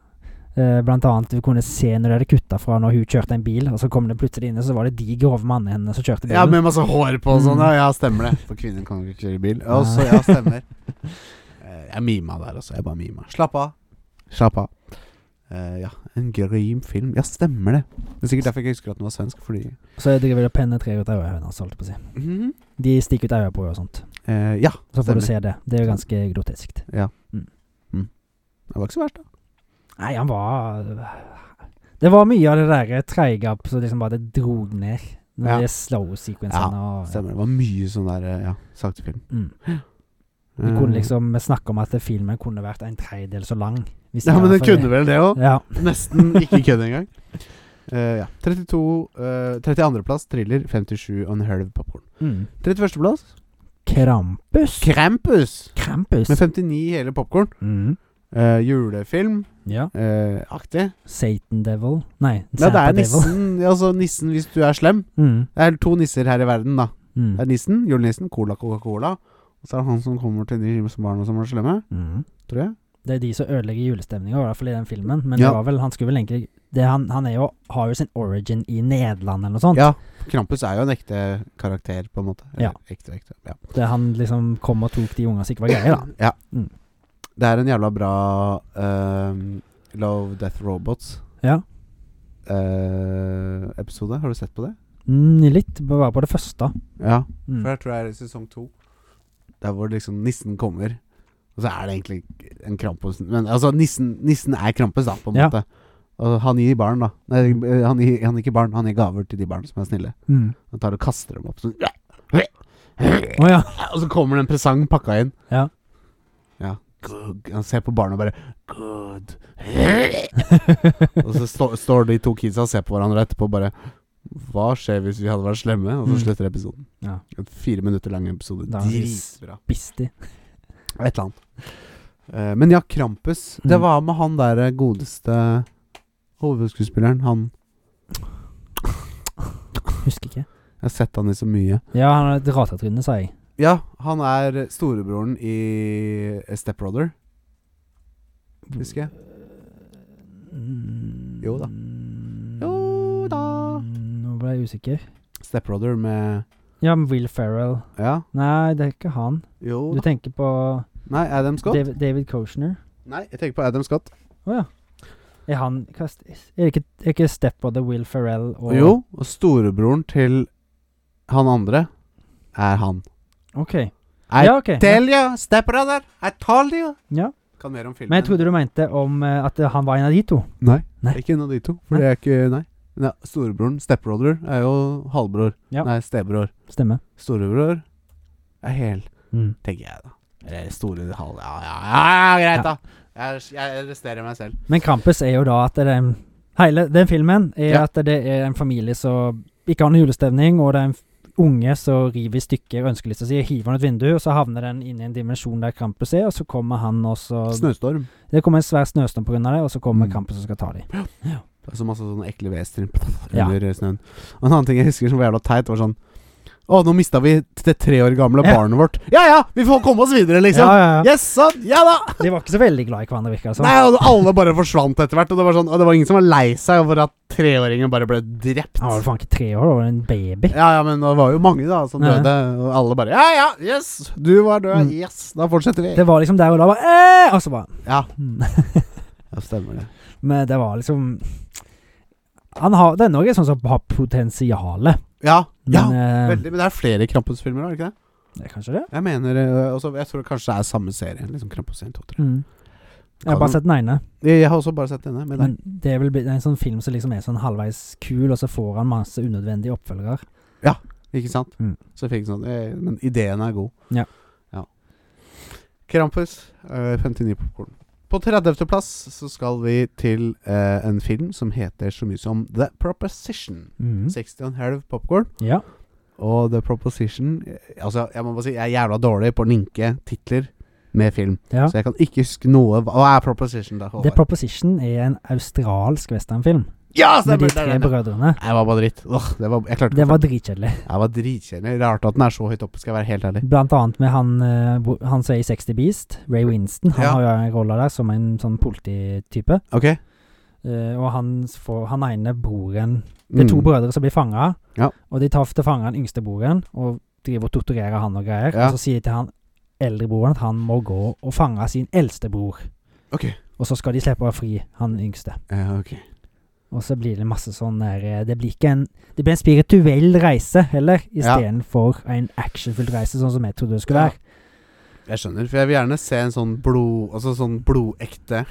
S1: Eh, blant annet du kunne se når de hadde kutta fra når hun kjørte en bil, og så kom det plutselig inne, så var det de grove mannene hennes som kjørte bilen.
S2: Ja, Med masse hår på og sånn.
S1: Mm.
S2: Ja, ja, stemmer det. For kvinner kan jo ikke kjøre bil. Ja, så ja, stemmer. jeg mima der, altså. Jeg bare mima. Slapp av. Slapp av. Eh, ja, en grim film. Ja, stemmer det. Det er sikkert derfor jeg ikke husker at den var svensk, fordi
S1: Så jeg driver og penetrerer ut øya hennes, holdt jeg på å si.
S2: Mhm.
S1: De stikker ut øya på henne og sånt.
S2: Eh, Ja,
S1: Så får
S2: Stemmer.
S1: du se det. Det er jo ganske groteskt.
S2: det var ikke så verst, da.
S1: Nei, han var eh, Det var mye av det derre treigap som liksom bare drog ned. Når
S2: Ja.
S1: det er slow-sekvensene og
S2: Stemmer. Det var mye sånn der eh, ja, sakte film.
S1: mm. Vi
S2: Eh,
S1: kunne liksom snakke om at filmen kunne vært en tredjedel så lang. hvis
S2: Ja, men
S1: det var
S2: den
S1: for-
S2: kunne vel det òg.
S1: Ja.
S2: Nesten ikke kødd engang. Eh, ja. 32 eh, 32. plass thriller, 57 og en halv popkorn.
S1: Mm.
S2: 31. plass
S1: Krampus.
S2: Krampus!
S1: Krampus.
S2: Med 59 hele popkorn. Eh,
S1: Mm.
S2: julefilm-aktig.
S1: Ja. Satan Devil. Nei,
S2: Ja, det
S1: Santa
S2: er
S1: Devil.
S2: nissen, ja, altså nissen hvis du er slem. Det
S1: Mm.
S2: er to nisser her i verden, da. Det
S1: Mm.
S2: er nissen, julenissen, Cola Coca-Cola. Og så er det han som kommer til de som barna som er slemme,
S1: Mm.
S2: tror jeg.
S1: Det er de som ødelegger julestemninga, i hvert fall i den filmen. Men
S2: Ja.
S1: det var vel, han skulle vel egentlig det han, han er jo, har jo sin origin i Nederland eller noe sånt.
S2: Ja, Krampus er jo en ekte karakter, på en måte. Eller,
S1: Ja.
S2: Ekte, ekte. Ja.
S1: Der han liksom kom og tok de ungene som ikke var greie, da.
S2: Ja.
S1: Mm.
S2: Det er en jævla bra ehm, Love Death Robots
S1: Ja.
S2: eh, episode. Har du sett på det?
S1: Mm, litt, bare på det første.
S2: Ja.
S1: Mm.
S2: For jeg tror det er i sesong to. Der hvor liksom nissen kommer. Og så er det egentlig en Krampus Men altså, nissen, nissen er Krampus, da, på en
S1: Ja.
S2: måte. Og han gir barn, da. Nei, eh, han gir, han gir ikke barn, han gir gaver til de barna som er snille.
S1: Mm.
S2: Han tar og kaster dem opp sånn.
S1: Å ja.
S2: Og så kommer det en presang pakka inn.
S1: Ja.
S2: Ja. Good. Han ser på barna og bare Good. og så stå, står de to kidsa og ser på hverandre etterpå og bare Hva skjer hvis vi hadde vært slemme? Og så
S1: Mm.
S2: slutter episoden.
S1: Ja.
S2: En fire minutter lang episode.
S1: Da er vi s-
S2: Dritbra.
S1: Bisti.
S2: Et eller annet. Eh, men ja, Krampus. Det
S1: Mm.
S2: var med han der eh, godeste hovedskuespilleren. Han
S1: Husker
S2: Jeg
S1: ikke.
S2: har sett han i så mye.
S1: Ja, han har et ratetryne, sa jeg.
S2: Ja, han er storebroren i eh, Step Brother. Husker jeg.
S1: Mm.
S2: Jo da. Jo da.
S1: Nå ble jeg usikker.
S2: Step Brother med
S1: Ja, men Will Ferrell
S2: Ja.
S1: Nei, det er ikke han.
S2: Jo
S1: Du
S2: da.
S1: tenker på
S2: Nei, Adam Scott?
S1: David, David Koshner.
S2: Nei, jeg tenker på Adam Scott.
S1: Å ja. Er han hva s- Er det ikke, er det ikke stepbrother Will Ferrell og
S2: Jo, og storebroren til han andre er han.
S1: OK.
S2: I
S1: ja, ok.
S2: tell you, stepbrother, I told you.
S1: Ja.
S2: Kan mer om filmen.
S1: Men jeg trodde du mente om eh, at han var en av de to.
S2: Nei,
S1: Nei.
S2: ikke en av de to. For det er ikke Nei. Men ja, storebroren, stepbrother, er jo halvbror.
S1: Ja.
S2: Nei, stebror.
S1: Stemmer.
S2: Storebror er hel,
S1: Mm.
S2: tenker jeg da. Eller store halv... Ja, ja, ja, ja greit,
S1: Ja.
S2: da. Jeg, jeg arresterer meg selv.
S1: Men Krampus er jo da at det er en Hele den filmen er
S2: Ja.
S1: at det er en familie som ikke har noen julestemning, og det er en f- unge som river i stykker ønskelista si, hiver den ut vinduet, og så havner den inn i en dimensjon der Krampus er, og så kommer han også
S2: Snøstorm.
S1: Det kommer en svær snøstorm pga. det, og så kommer
S2: Mm.
S1: Krampus og skal ta dem.
S2: Det er så masse sånne ekle vesener
S1: Ja.
S2: under snøen. Og en annen ting jeg husker som var jævla teit, var sånn Å, nå mista vi det tre år gamle
S1: Ja.
S2: barnet vårt. Ja ja, vi får komme oss videre, liksom.
S1: ja, ja.
S2: Yes, sånn, ja da!
S1: De var ikke så veldig glad i hverandre, virker det som.
S2: Nei, og alle bare forsvant etter hvert. Og det var sånn Og det var ingen som var lei seg over at treåringen bare ble drept.
S1: Han var vel faen ikke tre år, da var han en baby.
S2: Ja ja, men det var jo mange da som
S1: Ja.
S2: døde, og alle bare Ja ja, yes! Du var død,
S1: Mm.
S2: yes! Da fortsetter vi.
S1: Det var liksom der og da bare «Eh!» Og så bare
S2: Ja,
S1: Mm.
S2: ja stemmer det.
S1: Men det var liksom Han har Den òg er sånn som har potensialet.
S2: Ja, ja
S1: Men eh,
S2: veldig. Men det er flere Krampus-filmer, er det ikke det?
S1: det er kanskje det.
S2: Jeg mener eh, også, Jeg tror kanskje det er samme serie. Liksom Krampus 1, 2, 3.
S1: Mm. Jeg har
S2: Kan-
S1: bare sett den ene.
S2: Jeg har også bare sett denne med deg.
S1: Men det er vel blitt en sånn film som liksom er sånn halvveis kul, og så får han masse unødvendige oppfølgere.
S2: Ikke sant?
S1: Mm.
S2: Så jeg fikk sånn eh, Men ideen er god.
S1: Ja.
S2: Ja. Krampus, eh, 59 popkorn. På 30.-plass så skal vi til eh, en film som heter så mye som The Proposition.
S1: Mm.
S2: 60 og en halv popkorn.
S1: Ja.
S2: Og The Proposition eh, Altså, jeg må bare si jeg er jævla dårlig på å linke titler med film.
S1: ja.
S2: Så jeg kan ikke huske noe Hva er Proposition, da?
S1: The
S2: Håvard?
S1: Proposition er en australsk westernfilm
S2: ja, stemmer!
S1: med
S2: Det er
S1: de tre
S2: den, ja.
S1: brødrene.
S2: Jeg var bare dritt. Åh, det var, jeg klarte
S1: Det
S2: ikke å
S1: var dritkjedelig.
S2: Jeg var dritkjedelig. Rart at den er så høyt oppe, skal jeg være helt ærlig.
S1: Blant annet med han, eh, hvor- han som er i 60 Beast, Ray Winston. Han
S2: Ja.
S1: har jo en rolle der som en sånn polititype.
S2: Ok
S1: Eh, og han, får, han ene broren Det er to brødre som blir fanga,
S2: Mm. Ja.
S1: og de tar til fange den yngste broren og driver og torturerer han og greier.
S2: Ja.
S1: Og så sier de til han eldrebroren at han må gå og fange sin eldste bror.
S2: Ok.
S1: Og så skal de slippe å ha fri, han yngste.
S2: Ja, ok.
S1: Og så blir det masse sånn der eh, Det blir ikke en Det blir en spirituell reise heller,
S2: Ja.
S1: istedenfor en actionfylt reise, sånn som jeg trodde det skulle
S2: Ja.
S1: være.
S2: Jeg skjønner, for jeg vil gjerne se en sånn blod Altså sånn blodekte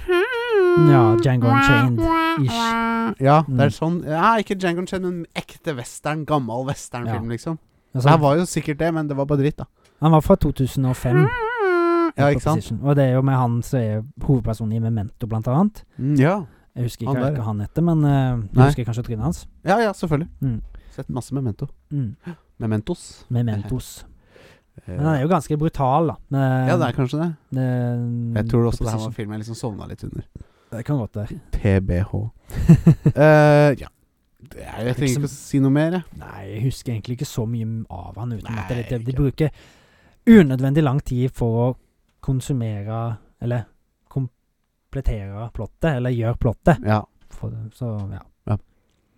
S1: Ja, Django Unchained-ish.
S2: Ja, det
S1: Mm.
S2: er sånn Ja, ikke Django Chen, men ekte western. Gammel westernfilm, liksom. Det her
S1: Altså,
S2: var jo sikkert det, men det var bare dritt, da.
S1: han var fra 2005.
S2: Ja, ikke sant?
S1: Proposition. Og det er jo med han som er hovedpersonen i Memento, blant annet.
S2: Mm, ja.
S1: Jeg husker
S2: Han
S1: ikke
S2: der.
S1: hva han heter, men eh, jeg
S2: Nei.
S1: husker kanskje trynet hans.
S2: ja, ja, selvfølgelig.
S1: Mm.
S2: Sett masse Memento.
S1: Mm.
S2: Mementos.
S1: Mementos.
S2: Eh,
S1: Men han er jo ganske brutal, da. Men,
S2: ja, det er kanskje det.
S1: Mm. det-
S2: Jeg tror også det her var
S1: Proposition.
S2: en film jeg liksom sovna litt under.
S1: Det kan godt være.
S2: PBH. Eh, ja. Det er, jeg trenger ikke å si noe mer, jeg.
S1: Nei, jeg husker egentlig ikke så mye av han utenom at det,
S2: Nei,
S1: det, de
S2: ikke.
S1: bruker unødvendig lang tid for å konsumere Eller komplettere plottet, eller gjøre plottet.
S2: Ja.
S1: For, så ja.
S2: Ja.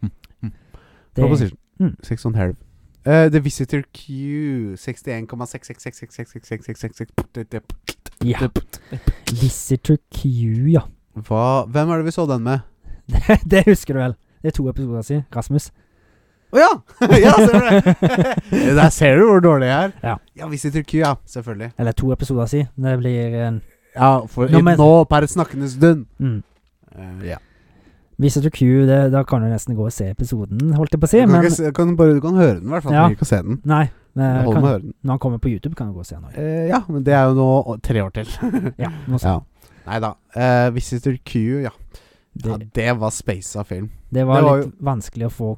S2: Mm, mm.
S1: Det,
S2: Proposition.
S1: Mm.
S2: Six and a half. Eh, The Visitor Q 61,6666666666
S1: ja. Visitor Q, ja.
S2: Hva Hvem er det vi så den med?
S1: Det, det husker du vel? Det er to episoder siden. Rasmus.
S2: Å ja! ja, ser du det? Der ser du hvor dårlig jeg er.
S1: Ja.
S2: Visitor Q, ja. Selvfølgelig.
S1: Eller to episoder siden. Det blir en
S2: Ja, for
S1: Nå, men-
S2: nå per snakkende stund.
S1: mm.
S2: Eh, ja.
S1: Visitor Q, det, da kan du nesten gå og se episoden, holdt jeg på å si.
S2: Du kan,
S1: Men
S2: ikke se, kan bare, du kan høre den, i hvert fall.
S1: Ja.
S2: Du trenger ikke å se den.
S1: nei. men
S2: Hold med å
S1: kan,
S2: høre den.
S1: når han kommer på YouTube, kan du gå og se han òg.
S2: Eh, ja, men det er jo nå å, tre år til.
S1: Ja, nå s-
S2: ja. Nei da. Eh, Visitor Q, ja. ja.
S1: det,
S2: Det var space av film.
S1: det var
S2: det var
S1: litt vanskelig å få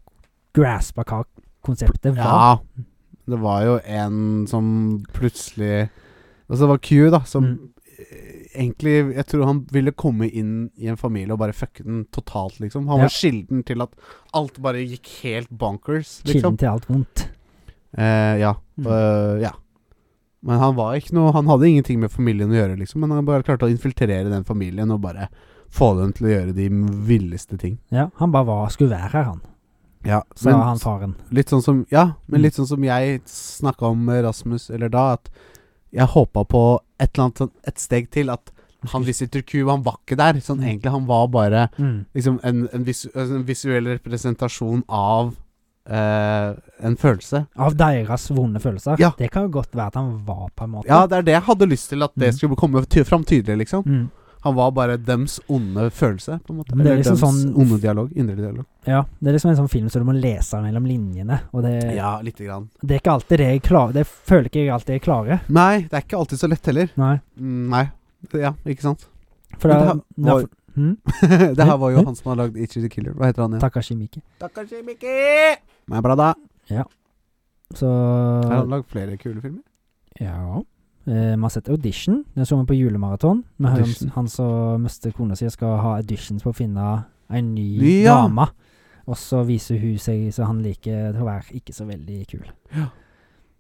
S1: grasp av hva konseptet var.
S2: Ja. Det var jo en som plutselig Altså, det var Q, da, som
S1: Mm.
S2: eh, egentlig Jeg tror han ville komme inn i en familie og bare fucke den totalt, liksom. Han
S1: Ja.
S2: var kilden til at alt bare gikk helt bonkers,
S1: Kilden
S2: liksom.
S1: til alt vondt.
S2: Eh, ja.
S1: Mm.
S2: eh, ja. Men han var ikke noe Han hadde ingenting med familien å gjøre, liksom. Men han bare klarte å infiltrere den familien og bare få dem til å gjøre de villeste ting.
S1: Ja, han bare var, skulle være her, han,
S2: Ja,
S1: sa
S2: men-
S1: han faren.
S2: Litt sånn som Ja, men
S1: Mm.
S2: litt sånn som jeg snakka om med Rasmus eller da, at jeg håpa på et eller annet sånn et steg til. At han Visitor Q, han var ikke der. Sånn
S1: Mm.
S2: egentlig, han var bare
S1: Mm.
S2: liksom en, en, visu, en visuell representasjon av eh, en følelse.
S1: Av deres vonde følelser.
S2: Ja.
S1: Det kan jo godt være at han var på en måte.
S2: Ja, det er det jeg hadde lyst til at det
S1: Mm.
S2: skulle komme ty fram tydelig, liksom.
S1: Mm.
S2: Han var bare dems onde følelse, på en måte.
S1: Men det er
S2: Eller
S1: liksom
S2: dems
S1: sånn-
S2: onde dialog. Indre dialog.
S1: ja. Det er liksom en sånn film som du må lese mellom linjene, og det,
S2: Ja, lite grann.
S1: det er ikke alltid det jeg klarer. Det føler ikke jeg alltid jeg klarer.
S2: Nei, det er ikke alltid så lett heller.
S1: Nei.
S2: Mm, Nei. Ja, ikke sant?
S1: For
S2: Men
S1: da,
S2: det her var-
S1: derfor- hm?
S2: det her var jo
S1: Hæ?
S2: han som har lagd Itchy the Killer. Hva heter han igjen?
S1: Takashi Miike.
S2: Takashi Miki! Men bra, da.
S1: Så
S2: Har han lagd flere kule filmer?
S1: Ja. Eh, Vi har sett Audition. Den så vi på julemaraton. Med han,
S2: Audition.
S1: han som mister kona si, skal ha auditions på å finne ei ny
S2: Ja.
S1: dame. Og så viser hun seg så han liker til å være ikke så veldig kul.
S2: Ja.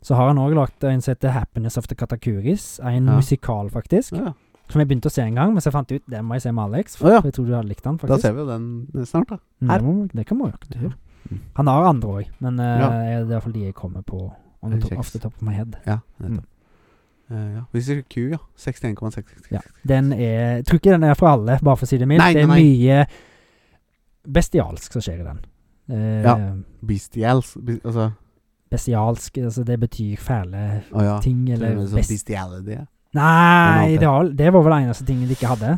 S1: Så har han òg lagd en som heter 'Happiness of the Katakuris'. En
S2: Ja.
S1: musikal, faktisk.
S2: Ja.
S1: Som jeg begynte å se en gang, men så fant jeg ut den må jeg se med Alex.
S2: Å ja.
S1: For jeg tror du hadde likt den,
S2: Da
S1: faktisk.
S2: ser vi jo den snart, da.
S1: Mm,
S2: her.
S1: det må- det kan man jo ikke
S2: Ja.
S1: gjøre. Han har andre òg, men eh,
S2: Ja.
S1: det er i hvert fall de jeg kommer på on the top,
S2: Kjeks.
S1: off the top of my head.
S2: Ja, nettopp. Eh, ja. Hvis det er Q, ja. 61,66.
S1: Ja. Den er Jeg tror ikke den er for alle, bare for å si det mildt.
S2: Nei,
S1: Det er
S2: nei, nei.
S1: mye bestialsk som skjer i den. Eh,
S2: Ja. Bestials Be Altså
S1: Bestialsk, altså det betyr fæle
S2: Å ja.
S1: ting,
S2: Til og
S1: eller
S2: med sånn
S1: best...
S2: Bestiality. ja.
S1: Nei,
S2: Den
S1: det var, det var vel den eneste tingen de ikke hadde.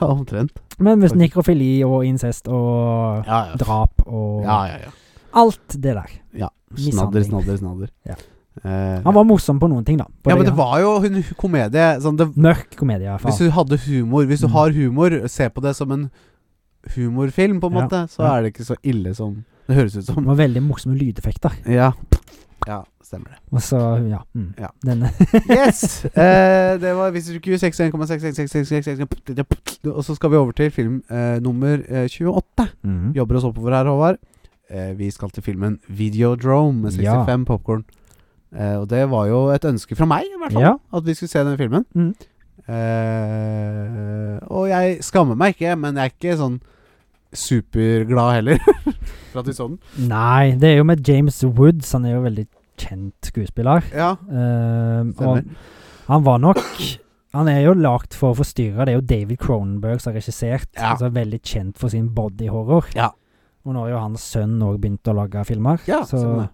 S2: Omtrent.
S1: Men hvis
S2: Ok.
S1: nekrofili og incest og
S2: Ja, ja.
S1: drap og
S2: Ja, ja, ja.
S1: alt det der.
S2: Snadder,
S1: Mishandling.
S2: snadder, snadder.
S1: Ja.
S2: Eh,
S1: Han var morsom på noen ting, da. På
S2: ja, men
S1: det-
S2: det var jo en komedie. Sånn, det,
S1: Mørk komedie, i hvert
S2: hvis
S1: fall.
S2: du hadde humor Hvis du
S1: Mm.
S2: har humor, se på det som en humorfilm, på en
S1: Ja,
S2: måte, så
S1: ja.
S2: er det ikke så ille som det høres ut som.
S1: Det var veldig morsomme lydeffekter.
S2: Ja. Ja, stemmer det.
S1: Og så, ja. Mm.
S2: Ja.
S1: Denne
S2: Yes! eh, det var Visitor Q 61,666666 Og så skal vi over til film eh, nummer eh, 28.
S1: mm.
S2: Vi jobber oss oppover her, Håvard. Eh, vi skal til filmen Videodrome med 65
S1: Ja.
S2: popkorn. Eh, og det var jo et ønske fra meg, i hvert fall,
S1: Ja.
S2: at vi skulle se denne filmen.
S1: Mm.
S2: Eh, og jeg skammer meg ikke, men jeg er ikke sånn superglad heller for at vi så den.
S1: Nei, det er jo med James Woods. Han er jo veldig kjent skuespiller.
S2: Ja,
S1: Ehm, og
S2: Stemmer.
S1: Han var nok Han er jo lagd for å forstyrre. Det er jo David Cronenberg som har regissert.
S2: Ja.
S1: Altså veldig kjent for sin bodyhorror.
S2: Ja.
S1: Og nå har jo hans sønn òg begynt å lage filmer.
S2: Ja,
S1: så
S2: sånn det.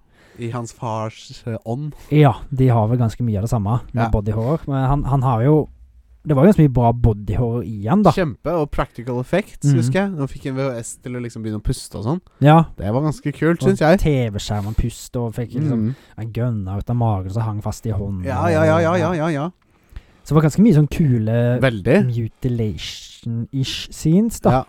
S2: I hans fars eh, ånd.
S1: ja, de har vel ganske mye av det samme med
S2: Ja.
S1: bodyhorror. Men han, han har jo Det var jo ganske mye bra bodyhorror i han, da.
S2: Kjempe. Og practical effects,
S1: Mhm.
S2: husker jeg. Nå fikk en VHS til å liksom begynne å puste og sånn.
S1: Ja.
S2: Det var ganske kult,
S1: Og
S2: syns jeg.
S1: TV-skjermen puste og fikk liksom
S2: Mhm.
S1: Han gønna ut av magen som hang fast i hånden.
S2: Ja, ja, ja, ja, ja, ja, ja.
S1: Så det var ganske mye sånn kule
S2: Eh, Veldig.
S1: mutilation-ish scenes, da.
S2: Ja.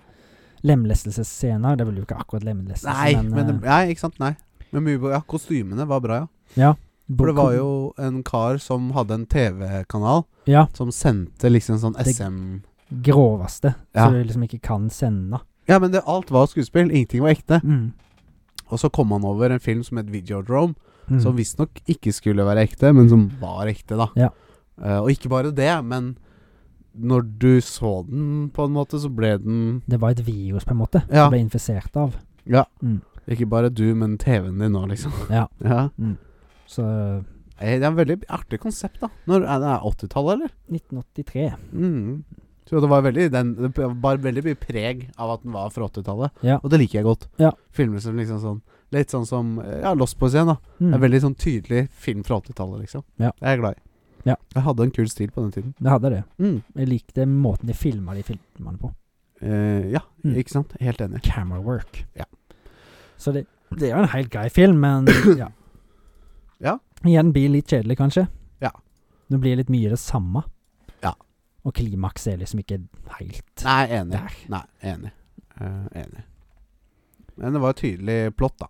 S1: Lemlestelsesscener. Det er vel jo ikke akkurat lemlestelse,
S2: Nei,
S1: men,
S2: men det,
S1: eh,
S2: nei, ikke sant. Nei. Men mye, bo- ja, kostymene var bra, ja. For det
S1: Boko-
S2: var jo en kar som hadde en TV-kanal
S1: Ja,
S2: som sendte liksom sånn
S1: Det-
S2: SM
S1: groveste.
S2: Ja.
S1: Så du liksom ikke kan sende.
S2: Ja, men det, alt var skuespill. Ingenting var ekte.
S1: Mm.
S2: Og så kom han over en film som het Videodrome,
S1: Mm.
S2: som visstnok ikke skulle være ekte, men som var ekte, da.
S1: Ja.
S2: Eh, og ikke bare det, men når du så den, på en måte, så ble den
S1: Det var et virus, på en måte,
S2: Ja.
S1: som ble infisert av.
S2: Ja.
S1: Mm.
S2: Ikke bare du, men TV-en din nå, liksom.
S1: Ja.
S2: ja.
S1: Så
S2: Eh, Det er et veldig artig konsept, da. Når, er det 80-tallet, eller?
S1: 1983.
S2: Mm. Så det var veldig den, Det bar veldig mye preg av at den var fra 80-tallet.
S1: Ja.
S2: Og det liker jeg godt.
S1: Ja.
S2: Filmer som liksom sånn Litt sånn som eh, Ja, Lost Boys igjen, da.
S1: Mm.
S2: Det er veldig sånn tydelig film fra 80-tallet, liksom.
S1: Ja.
S2: Det er jeg glad i.
S1: Ja.
S2: Jeg hadde en kul stil på den tiden.
S1: Det hadde det.
S2: Mm.
S1: Jeg likte måten de filma de filmene på.
S2: Eh, ja,
S1: Mm.
S2: ikke sant? Helt enig.
S1: Camera work.
S2: Ja.
S1: Så det, det er jo en helt grei film, men ja.
S2: Ja.
S1: Igjen blir litt kjedelig, kanskje.
S2: Ja.
S1: Det blir litt mye det samme.
S2: Ja.
S1: Og klimaks er liksom ikke helt
S2: Nei, enig.
S1: der.
S2: Nei, enig. Eh, enig. Men det var et tydelig plott, da.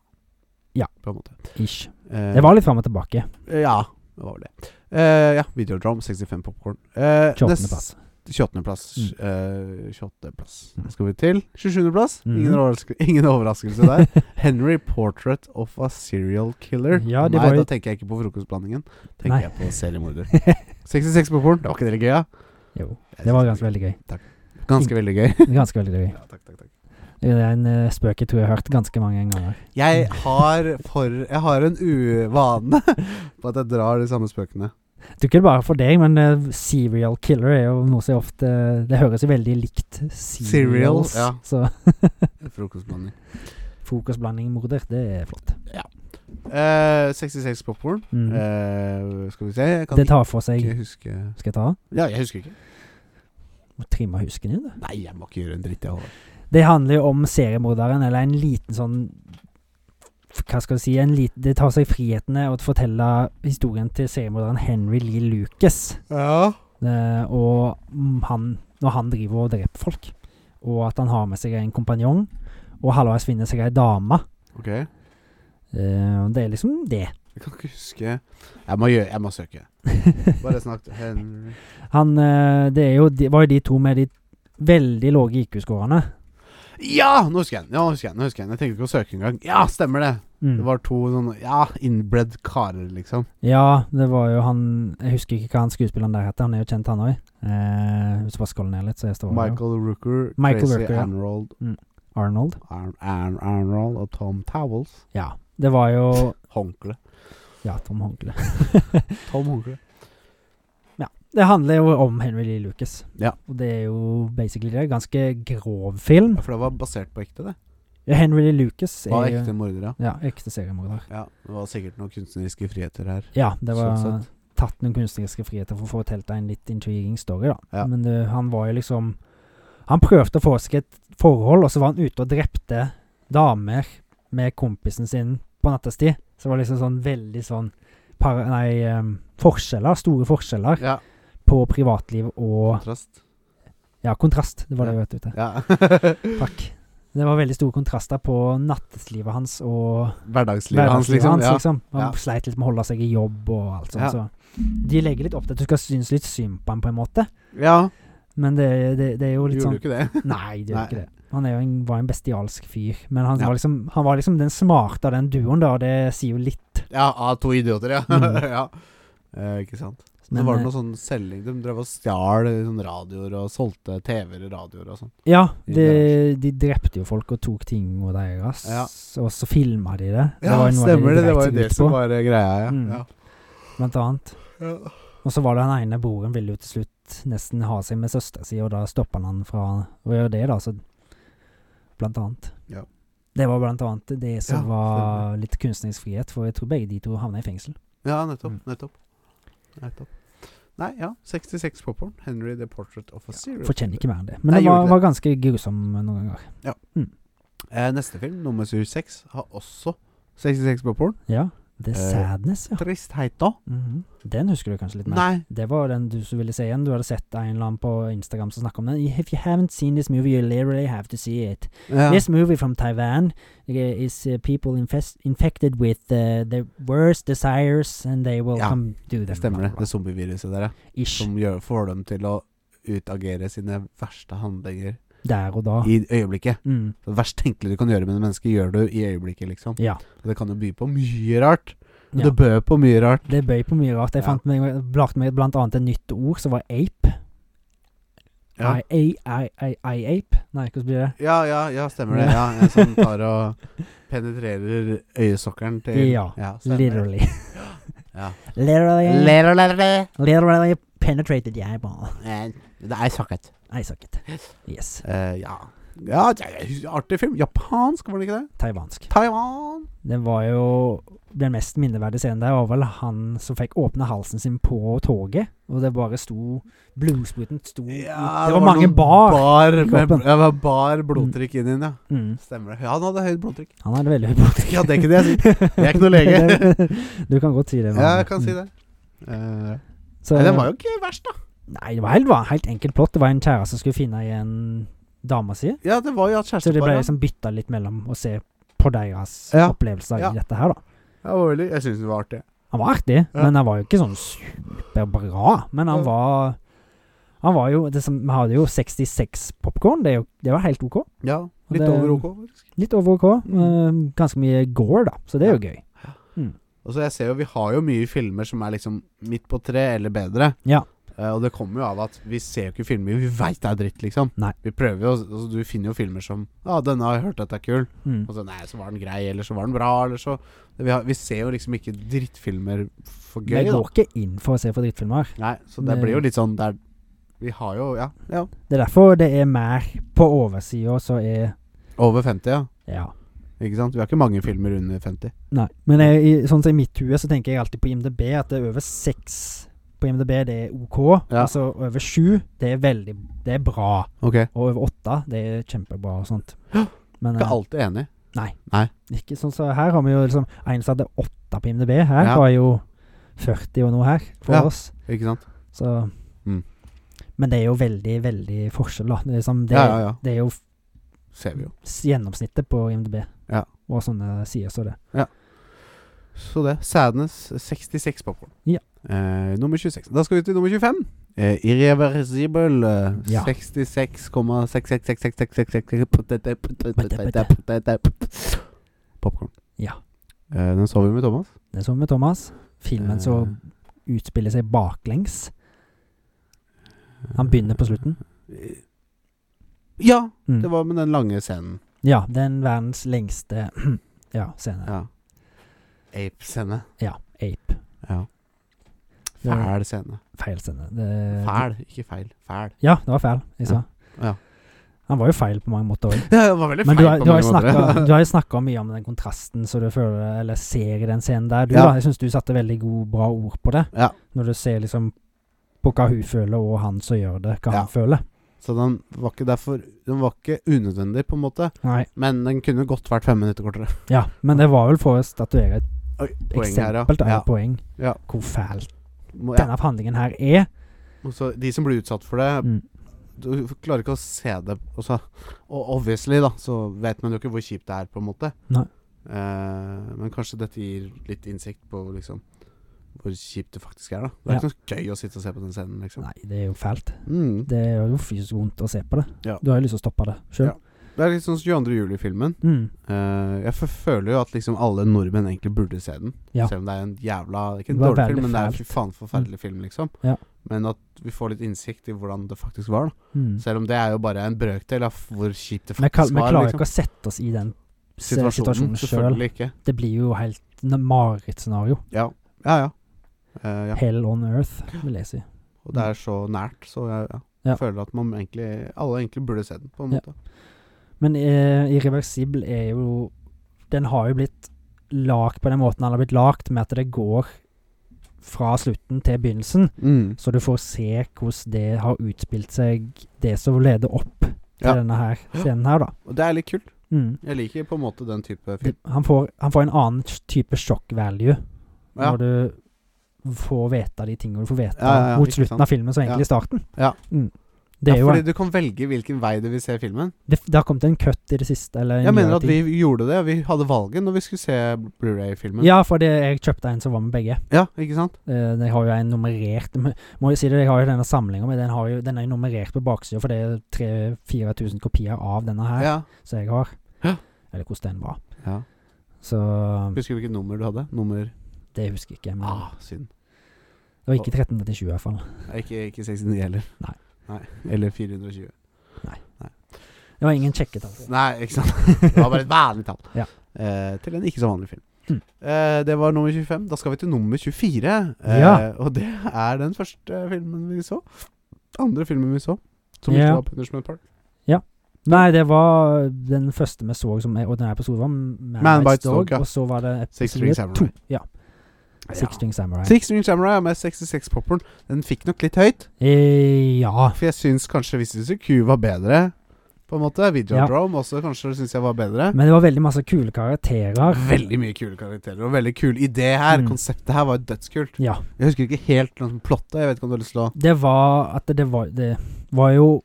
S1: Ja.
S2: På en måte.
S1: Ish.
S2: Eh,
S1: Det var litt fram og tilbake.
S2: Ja, det var vel det. Eh, ja, Videodrome, 65 popkorn. Uh,
S1: 28. plass.
S2: 28. plass.
S1: Mm.
S2: eh, 28. plass.
S1: Mm.
S2: Skal vi til 27. plass?
S1: Mhm.
S2: Ingen, overraske, ingen overraskelse der. Henry Portrait of a Serial Killer.
S1: Ja, det
S2: Nei,
S1: var jo-
S2: da tenker jeg ikke på frokostblandingen. Tenker
S1: Nei.
S2: jeg på seriemorder. 66 på porn. Det var ikke det gøy, ja?
S1: Jo.
S2: Jeg
S1: Det var
S2: synes
S1: ganske veldig gøy.
S2: var ganske veldig gøy.
S1: Ganske veldig gøy.
S2: ja, takk, takk, takk.
S1: Det er en eh, spøk jeg tror jeg har hørt ganske mange ganger.
S2: Jeg har for Jeg har en uvane på at jeg drar de samme spøkene.
S1: Jeg tror ikke det er bare for deg, men eh, serial killer er jo noe som jeg ofte Det høres jo veldig likt serials.
S2: Serials, ja.
S1: Så
S2: Frokostblanding.
S1: fokusblanding morder, det er flott.
S2: Eh, 66 popkorn.
S1: Mm.
S2: Eh, skal vi se Jeg kan
S1: det tar for seg
S2: ikke huske
S1: Skal jeg ta?
S2: Ja, jeg husker ikke.
S1: Må trimme husken din, du.
S2: Nei, jeg må ikke gjøre en dritt, jeg. Håvard.
S1: Det handler jo om seriemorderen, eller en liten sånn Hva skal du si en liten, Det tar seg frihetene å fortelle historien til seriemorderen Henry Lee Lucas. Eh, og mm, han, når han driver og dreper folk, og at han har med seg en kompanjong, og halvveis finner seg ei dame.
S2: Ok Jeg
S1: Eh, og det er liksom det.
S2: kan ikke huske Jeg må, gjøre, jeg må søke. Bare snakk Henry
S1: Han eh, Det er jo, de, var jo de to med de veldig lave IQ-skårene.
S2: Ja! Nå husker jeg den. Ja, nå husker jeg den. nå husker Jeg den Jeg tenkte ikke å søke engang. Ja, stemmer det!
S1: Mm.
S2: Det var to sånne Ja, inbred karer, liksom.
S1: Ja, det var jo han Jeg husker ikke hva han skuespilleren der heter. Han er jo kjent, han òg. Eh, hvis du bare scroller ned litt, så jeg står det jo.
S2: Michael Rooker,
S1: Michael
S2: Tracy
S1: Rooker, ja.
S2: Arnold,
S1: Arnold.
S2: Ar Ar Arnold og Tom Towels.
S1: Ja. Det var jo
S2: Håndkle.
S1: Ja, Tom Håndkle.
S2: Tom Håndkle.
S1: Det handler jo om Henry Lee Lucas.
S2: Ja.
S1: Og det er jo basically det. Ganske grov film.
S2: Ja, for det var basert på ekte, det.
S1: Ja, Henry Lee Lucas
S2: Det
S1: er
S2: var
S1: jo
S2: ekte mordere.
S1: ja, ekte seriemorder.
S2: Ja, det var sikkert noen kunstneriske friheter her.
S1: Ja, det var
S2: Sånn sett.
S1: tatt noen kunstneriske friheter for å fortelle deg en litt intriguing story, da.
S2: Ja.
S1: Men det, han var jo liksom Han prøvde å få seg et forhold, og så var han ute og drepte damer med kompisen sin på nattestid. Så det var liksom sånn veldig sånn para, Nei, ehm, forskjeller. Store forskjeller
S2: Ja,
S1: på privatliv og
S2: kontrast.
S1: Ja, kontrast. Det var det jeg vet ute.
S2: Ja.
S1: Takk. Det var veldig store kontraster på natteslivet hans og
S2: Hverdagslivet hans,
S1: hverdagslivet
S2: liksom.
S1: hans,
S2: ja.
S1: liksom. Han
S2: Ja.
S1: sleit litt med å holde seg i jobb og alt sånt.
S2: Ja.
S1: Så. De legger litt opp til at du skal synes litt synd på ham, på en måte.
S2: ja.
S1: Men det, det, det er jo
S2: Du gjorde
S1: litt sånn
S2: jo ikke det.
S1: Nei, det
S2: Nei.
S1: gjør ikke det. Han er jo en, var en bestialsk fyr. Men han,
S2: Ja.
S1: var liksom, han var liksom den smarte av den duoen, da. og Det sier jo litt.
S2: Ja, av to idioter, ja.
S1: Mm.
S2: ja. Eh, ikke sant. Men,
S1: Men,
S2: var det
S1: eh,
S2: noe sånn selging De drev og stjal eh, sånn radioer og solgte TV-er og radioer og sånn.
S1: Ja,
S2: i
S1: de, de drepte jo folk og tok ting og deres,
S2: Ja.
S1: og så filma de det.
S2: Ja,
S1: var Mm. jo noe av
S2: stemmer det. Det
S1: dreit
S2: var jo
S1: seg
S2: det
S1: ut
S2: som
S1: på,
S2: var eh, greia, ja.
S1: Mm.
S2: ja.
S1: Blant annet.
S2: ja.
S1: Og så var det han ene broren ville jo til slutt nesten ha seg med søsteren sin, og da stoppa han han fra å gjøre det, da. Så blant annet.
S2: Ja.
S1: Det var blant annet det som
S2: Ja,
S1: var litt kunstnerisk frihet, for jeg tror begge de to havna i fengsel.
S2: Ja, nettopp.
S1: Mm.
S2: Nettopp. nettopp. Nei, ja. 66 popkorn. Henry the Portrait of a Serial
S1: Fortjener ikke
S2: Killer.
S1: mer enn det. Men
S2: Nei,
S1: det
S2: gjorde
S1: var,
S2: ikke
S1: var ganske grusom noen ganger.
S2: Eh, neste film, nummer 76, har også 66 popkorn.
S1: Ja. The
S2: Eh,
S1: Sadness, ja.
S2: Tristheit da?
S1: Mhm. Den husker du kanskje litt mer?
S2: Nei.
S1: Det var den du som ville se igjen. Du hadde sett en eller annen på Instagram som snakka om den. If you haven't seen this movie, you literally have to see it.
S2: Ja.
S1: This movie from Taiwan uh, is uh, people infest, infected with uh, the worst desires, and they will
S2: Ja,
S1: come do them.
S2: Det stemmer det. Det zombieviruset der, ja.
S1: Ish.
S2: Som gjør, får dem til å utagere sine verste handlinger
S1: Der og da.
S2: i øyeblikket.
S1: Mm.
S2: Det verst tenkelige du kan gjøre med et menneske, gjør du i øyeblikket, liksom.
S1: Ja.
S2: Og Det kan jo by på mye rart. Og
S1: ja.
S2: Det bød på mye rart.
S1: Det bøy på mye rart. Jeg
S2: Ja.
S1: fant meg, lagt meg blant annet et nytt ord, som var ape.
S2: Ja,
S1: I-ape. Nei, hvordan blir det?
S2: ja, ja, ja stemmer det. Ja, en som tar og penetrerer øyesokkelen til
S1: Ja,
S2: stemmer det.
S1: Literally.
S2: Ja.
S1: Literally.
S2: Little, little, little.
S1: Literally penetrated the eyeball.
S2: Eh, Det er socket.
S1: I suck it. Yes.
S2: Eh, ja. ja, det er artig film. Japansk, var det ikke det?
S1: Taiwansk.
S2: Taiwan.
S1: Det var jo Den mest minneverdige scenen der var vel han som fikk åpne halsen sin på toget, og det bare sto Blodspruten sto ut. Det var, mange
S2: noen
S1: bar.
S2: bar
S1: i
S2: med,
S1: kroppen.
S2: ja, det var bar blodtrykk inn i den, ja.
S1: Mm.
S2: Stemmer det. Ja, han hadde høyt blodtrykk.
S1: Han hadde veldig høy blodtrykk.
S2: Ja, det er ikke det jeg sier. Jeg er ikke noen lege.
S1: du kan godt si det. Mm.
S2: Ja, jeg kan si det. Eh,
S1: Så,
S2: nei, den var jo ikke verst, da.
S1: Nei, det var helt, var helt enkelt plott. Det var en kjæreste som skulle finne igjen dama si,
S2: Ja, det var jo at
S1: så det
S2: kjærestepar
S1: ble
S2: ja.
S1: liksom bytta litt mellom å se på deres
S2: Ja.
S1: opplevelser
S2: Ja.
S1: i dette her, da.
S2: Ja, det var veldig- Jeg syns den var artig.
S1: Han var artig, men han var jo ikke sånn superbra. Men han
S2: Ja.
S1: var Han var jo det som, Vi hadde jo 66 popkorn. Det, er jo- det var helt OK.
S2: Ja, litt
S1: det-
S2: over OK, faktisk.
S1: Litt over OK.
S2: Mm.
S1: eh, ganske mye gore, da. Så det er jo gøy.
S2: Og så jeg ser jo, Vi har jo mye filmer som er liksom midt på tre eller bedre.
S1: Ja.
S2: Eh, og det kommer jo av at vi ser jo ikke filmer vi veit det er dritt, liksom.
S1: Nei.
S2: Vi prøver jo, altså, Du finner jo filmer som Ja, denne har jeg hørt at er kul.
S1: Mm.
S2: Og så nei, så var den grei, eller så var den bra, eller så Vi, har, vi ser jo liksom ikke drittfilmer for
S1: Men
S2: gøy,
S1: jeg
S2: da.
S1: går ikke inn for å se på drittfilmer.
S2: Nei, så det blir jo litt sånn der Vi har jo, ja, ja.
S1: Det er derfor det er mer på oversida så er
S2: Over 50, ja.
S1: Ja.
S2: Ikke sant? Vi har ikke mange filmer under 50.
S1: Nei. Men jeg, i, sånn som i mitt hue så tenker jeg alltid på IMDb at det er over seks på IMDb, det er OK.
S2: Ja.
S1: Altså over sju, det er veldig Det er bra.
S2: Ok.
S1: Og over åtte, det er kjempebra og sånt. Men
S2: Ikke
S1: eh,
S2: alltid enig.
S1: ikke sånn så her har vi jo liksom En som hadde åtte på IMDb. Her
S2: Ja.
S1: var jo 40 og noe her for
S2: Ja.
S1: oss.
S2: Ikke sant?
S1: Så
S2: Mm.
S1: Men det er jo veldig, veldig forskjell, da. Det er, liksom, det,
S2: Ja, ja, ja.
S1: Det er jo f-
S2: Ser vi jo.
S1: s- gjennomsnittet på IMDb.
S2: Ja.
S1: Og sånne sider som det.
S2: Så det. Sadness 66 popkorn.
S1: Ja.
S2: Eh, nummer 26. Da skal vi til nummer 25. Eh, irreversibel eh,
S1: Ja.
S2: 66,666666 Popkorn.
S1: Ja.
S2: Eh, den så vi med Thomas.
S1: Det er sånn med Thomas. Filmen som
S2: Eh,
S1: utspiller seg baklengs.
S2: Eh.
S1: Han begynner på slutten.
S2: Ja!
S1: Mm.
S2: Det var med den lange scenen.
S1: Ja. Den verdens lengste ja, scene.
S2: Ja. Ape-scene.
S1: Ja. Ape.
S2: Ja.
S1: Det var-
S2: Fæl scene.
S1: Feil scene. Det-
S2: Fæl, ikke feil. Fæl.
S1: Ja, det var feil, jeg sa.
S2: Ja.
S1: Han var jo feil på mange måter òg.
S2: Ja, det var veldig
S1: Men du
S2: feil
S1: har,
S2: på
S1: du, har
S2: mange
S1: jo
S2: måter.
S1: snakket- du har jo snakka mye om den kontrasten som du føler Eller ser i den scenen der. Du,
S2: Ja.
S1: da, jeg syns du satte veldig god, bra ord på det.
S2: Ja.
S1: Når du ser liksom på hva hun føler, og han som gjør det, hva
S2: Ja.
S1: han føler.
S2: Så den var ikke derfor Den var ikke unødvendig, på en måte.
S1: Nei.
S2: Men den kunne godt vært fem minutter kortere.
S1: Ja, men det var vel for å statuere et
S2: Oi,
S1: eksempel, da,
S2: ja.
S1: et poeng,
S2: Ja.
S1: hvor fælt
S2: Må- ja.
S1: denne handlingen her er.
S2: Og så de som blir utsatt for det,
S1: Mm.
S2: du klarer ikke å se det og, så, og obviously, da, så vet man jo ikke hvor kjipt det er, på en måte.
S1: Nei.
S2: Eh, men kanskje dette gir litt innsikt på liksom hvor kjipt det faktisk er, da. Det er
S1: Ja.
S2: ikke noe gøy å sitte og se på den scenen, liksom.
S1: Nei, det er jo fælt.
S2: Mm.
S1: Det gjør jo fysisk vondt å se på det.
S2: Ja.
S1: Du har jo lyst til å stoppe det sjøl.
S2: Ja. Det er litt sånn 22. juli-filmen.
S1: Mm.
S2: Eh, jeg f- føler jo at liksom alle nordmenn egentlig burde se den.
S1: Ja.
S2: Selv om det er en jævla det er Ikke en
S1: Det var
S2: dårlig
S1: veldig
S2: film, men det er fy
S1: fælt. Mm.
S2: faen forferdelig film, liksom.
S1: Ja.
S2: Men at vi får litt innsikt i hvordan det faktisk var. da
S1: Mm.
S2: Selv om det er jo bare en brøkdel av hvor kjipt det
S1: Vi, kal-
S2: faktisk
S1: vi
S2: var.
S1: klarer
S2: Liksom.
S1: ikke å sette oss i den se-
S2: Situasjonen,
S1: situasjonen sjøl.
S2: selvfølgelig ikke.
S1: Det blir jo helt n- marerittscenario.
S2: Ja, ja. ja. Eh, ja.
S1: Hell on Earth, vil jeg si.
S2: Og det er så nært, så jeg ja.
S1: Ja.
S2: føler at man egentlig alle egentlig burde se den, på en
S1: Ja.
S2: måte.
S1: Men eh, Irreversible er jo Den har jo blitt lagd på den måten den har blitt lagd, med at det går fra slutten til begynnelsen.
S2: Mm.
S1: Så du får se hvordan det har utspilt seg, det som leder opp til
S2: Ja.
S1: denne her scenen her, da.
S2: Og det er litt kult.
S1: Mm.
S2: Jeg liker på en måte den type film.
S1: Det, han, får, han får en annen type sjokk value
S2: Ja.
S1: når du får vite de tingene du får vite
S2: Ja, ja, ja,
S1: mot
S2: ikke
S1: slutten
S2: sant.
S1: av filmen, som egentlig er starten.
S2: Ja.
S1: Mm. Det er
S2: ja,
S1: jo
S2: fordi du kan velge hvilken vei du vil se filmen.
S1: det, det har kommet en cut i det siste, eller en
S2: Jeg mener
S1: nyere
S2: at
S1: ting.
S2: vi gjorde det. Vi hadde valget når vi skulle se Blu-ray-filmen.
S1: Ja, for det, jeg kjøpte en som var med begge.
S2: Ja, ikke sant?
S1: Eh, jeg har jo en nummerert men Må jo si det, jeg har jo denne samlinga, men den, har jo, den er jo nummerert på baksida, for det er 3000-4000 kopier av denne her
S2: Ja.
S1: som jeg har.
S2: Ja.
S1: Eller hvordan den var.
S2: ja.
S1: Så
S2: Husker du hvilket nummer du hadde? Nummer
S1: det husker jeg ikke. Men
S2: Ah, synd.
S1: det var ikke 1337 i hvert fall.
S2: Nei, Ikke, ikke 69 heller.
S1: Nei.
S2: Eller 420.
S1: Det var ingen sjekket, altså.
S2: Nei, ikke sant. Det var bare et vanlig tall.
S1: Ja.
S2: Eh, til en ikke så vanlig film.
S1: Mm.
S2: Eh, det var nummer 25. Da skal vi til nummer 24. Eh,
S1: Ja.
S2: Og det er den første filmen vi så. Andre filmen vi så. Som
S1: Ja.
S2: ikke var Punishment Park.
S1: Nei, det var den første vi så som er ordinær episode, var Man,
S2: Man
S1: Bites
S2: Bites Dog,
S1: Dog.
S2: ja.
S1: Og så var det
S2: Six String
S1: episode
S2: Samurai.
S1: to. Ja.
S2: Ja.
S1: Six String Samurai.
S2: Six String Samurai med 66 popcorn. Den fikk nok litt høyt.
S1: Eh, ja.
S2: For jeg syns kanskje Visste du Q var bedre, på en måte.
S1: Ja.
S2: Videodrome også kanskje syns jeg var bedre.
S1: Men det var veldig masse kule karakterer.
S2: Veldig mye kule karakterer og veldig kul idé her.
S1: Mm.
S2: Konseptet her var jo dødskult.
S1: Ja.
S2: Jeg husker ikke helt noe som plotta. Jeg vet ikke om du har lyst til å
S1: Det var at det var Det var jo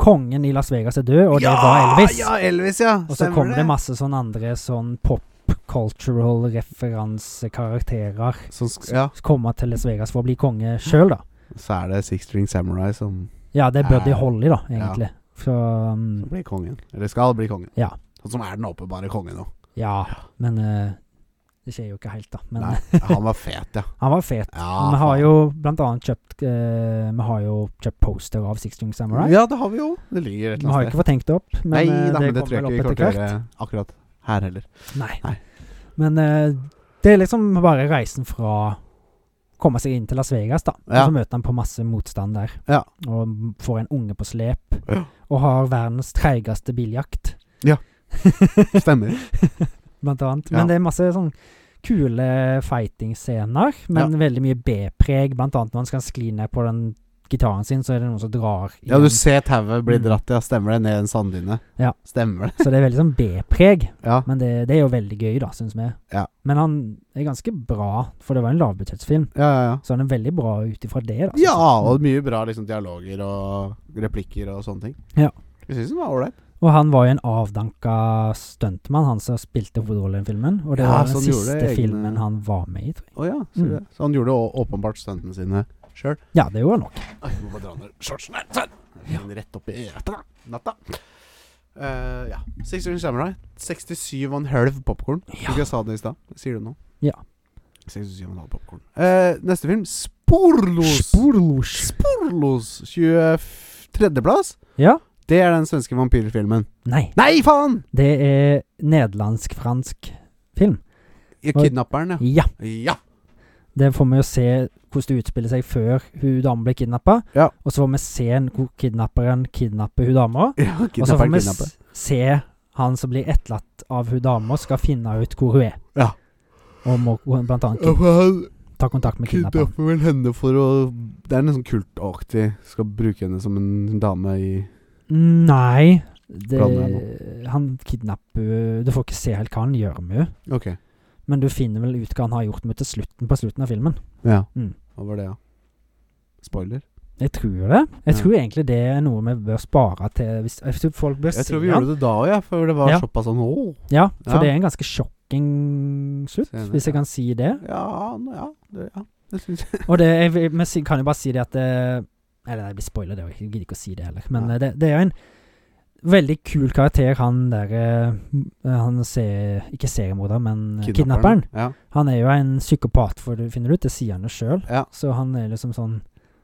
S1: Kongen i Las Vegas er død, og det var Elvis.
S2: Ja, Elvis, ja.
S1: og så
S2: Stemmer
S1: kom det masse sånn andre sånn pop cultural referansekarakterer.
S2: Som sk ja.
S1: som Kommer til Las Vegas for å bli konge sjøl, da.
S2: Så er det Six String Samurai som,
S1: Ja, det er Buddy
S2: Eh,
S1: Holly, da, egentlig. Så
S2: som
S1: um,
S2: blir kongen. Eller skal bli kongen.
S1: Ja.
S2: Og som er den åpenbare kongen nå.
S1: Ja, men eh, Det skjer jo ikke helt, da. Men
S2: Nei, han var fet, ja.
S1: han var fet.
S2: ja
S1: Men vi har
S2: faen.
S1: jo blant annet kjøpt eh, Vi har jo kjøpt poster av Six String Samurai.
S2: Ja, det har vi jo. Det ligger et
S1: Vi har
S2: eller annet sted.
S1: jo ikke fått tenkt det opp, men
S2: Nei,
S1: eh,
S2: da,
S1: det
S2: men det tror
S1: kommer
S2: jeg ikke vi
S1: vel opp
S2: kommer til
S1: etter
S2: å
S1: hvert.
S2: gjøre akkurat her heller.
S1: Nei.
S2: Nei.
S1: Men eh, det er liksom bare reisen fra Komme seg inn til Las Vegas, da.
S2: Ja.
S1: Og så møter han på masse motstand der.
S2: Ja.
S1: Og m- får en unge på slep.
S2: Ja.
S1: Og har verdens treigeste biljakt,
S2: Stemmer.
S1: blant annet.
S2: Ja.
S1: Men det er masse sånn kule fighting-scener, men veldig mye B-preg. Blant annet når han skal skli ned på den gitaren sin, så er det noen som drar i
S2: Ja, du
S1: den.
S2: ser tauet bli
S1: Mm.
S2: dratt, ja. Stemmer det. Ned en sanddyne.
S1: Ja.
S2: Stemmer det.
S1: Så det er veldig sånn B-preg.
S2: Ja.
S1: Men det, det er jo veldig gøy, da, syns vi.
S2: Ja.
S1: Men han er ganske bra, for det var en lavbudsjettsfilm.
S2: Ja, ja, ja.
S1: Så han er veldig bra ut ifra det, da. synes
S2: Ja,
S1: jeg.
S2: og mye bra liksom, dialoger og replikker og sånne ting.
S1: Ja.
S2: Jeg syns den var ålreit.
S1: Og han var jo en avdanka stuntmann, han som spilte hovedrollen i filmen. Og det
S2: Ja,
S1: var
S2: så
S1: den
S2: han gjorde
S1: siste
S2: egne-
S1: filmen han var med i, tror jeg.
S2: Å ja, så,
S1: Mm.
S2: det. så han gjorde å- åpenbart stuntene sine sjøl.
S1: Ja, det gjorde han nok.
S2: Jeg må bare dra ned shortsen her. Sånn. Den Rett opp i natta. natta. Eh, ja. 67 Samurai. 67 og en halv popkorn.
S1: Ja.
S2: Jeg sa det i stad. Jeg Sier det nå.
S1: Ja.
S2: 67 og en halv popcorn. Eh, neste film, Sporlos.
S1: Sporlos.
S2: Sporlos. 23.-plass.
S1: Ja.
S2: Det er den svenske vampyrfilmen.
S1: Nei,
S2: Nei, faen!
S1: det er nederlandsk-fransk film.
S2: Ja, Kidnapperen, ja.
S1: Ja.
S2: Ja.
S1: Det får vi jo se hvordan det utspiller seg før hun dama blir kidnappa.
S2: Ja.
S1: Og så får vi se hvor kidnapperen kidnapper hun dama.
S2: ja
S1: Og så får
S2: kidnapperen
S1: vi
S2: kidnapper.
S1: s- se han som blir etterlatt av hun dama, skal finne ut hvor hun er.
S2: Ja.
S1: Og må hun blant annet
S2: Ja,
S1: kid-
S2: for Han
S1: ta kontakt med kidnapperen.
S2: kidnapper vel henne for å Det er nesten kultaktig. Skal bruke henne som en dame i
S1: Nei det,
S2: Blander
S1: Han kidnapper Du får ikke se helt hva han gjør med henne.
S2: Ok.
S1: Men du finner vel ut hva han har gjort med henne til slutten på slutten av filmen.
S2: Ja.
S1: Mm.
S2: Hva var det, ja? Spoiler?
S1: Jeg tror det. Jeg
S2: Ja.
S1: tror egentlig det er noe vi bør spare til hvis, Jeg tror folk bør
S2: Jeg
S1: se
S2: tror vi
S1: den.
S2: gjorde det da òg, ja, for det var
S1: Ja.
S2: såpass sånn åh.
S1: Ja, for
S2: Ja.
S1: det er en ganske sjokking slutt,
S2: Scene,
S1: hvis jeg
S2: ja.
S1: kan si det.
S2: Ja, nå- ja. Det, ja. det syns jeg.
S1: Og det jeg, vil- men si- kan jo bare si det at det, Eller det blir spoiler, det, og jeg gidder ikke å si det heller. Men
S2: Nei.
S1: eh, det, det er jo en veldig kul karakter, han der eh, m- eh, Han ser Ikke seriemorder, men eh, kidnapperen.
S2: Ja.
S1: Han er jo en psykopat, for du finner ut, det sier han jo sjøl.
S2: Ja.
S1: Så han er liksom sånn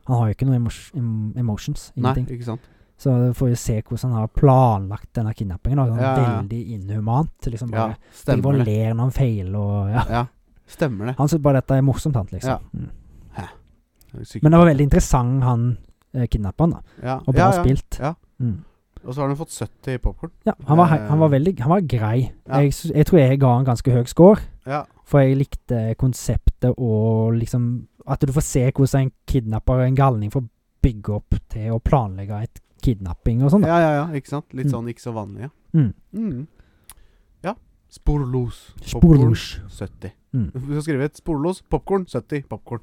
S1: Han har jo ikke noe emos, em, emotions.
S2: Nei,
S1: Ingenting.
S2: ikke sant.
S1: Så du får jo se hvordan han har planlagt denne kidnappingen. Da. Sånn
S2: Ja, ja, ja.
S1: Veldig inhumant. Liksom
S2: Ja,
S1: bare Driver og
S2: stemmer det.
S1: ler når han feiler og ja.
S2: Ja, stemmer det.
S1: Han syns bare dette er morsomt, han, liksom.
S2: Ja.
S1: Mm. Men det var veldig interessant, han eh, kidnapperen, da.
S2: ja.
S1: Og
S2: ja,
S1: bra
S2: ja.
S1: spilt.
S2: ja.
S1: Mm.
S2: Og så har han fått 70 i popkorn.
S1: Ja, han var,
S2: Eh,
S1: hei- han var veldig Han var grei.
S2: ja.
S1: Jeg, sy- jeg tror jeg ga han ganske høy score,
S2: Ja.
S1: for jeg likte konseptet og liksom At du får se hvordan en kidnapper og en galning får bygge opp til å planlegge et kidnapping og sånn. da.
S2: ja, ja, ja. Ikke sant? Litt
S1: Mm.
S2: sånn ikke så vanlig, ja.
S1: Mm.
S2: Mm. Ja. Sporlos. Popcorn,
S1: Sporlosj.
S2: 70.
S1: Mm.
S2: Du skal skrive et sporlos, popkorn, 70, popkorn.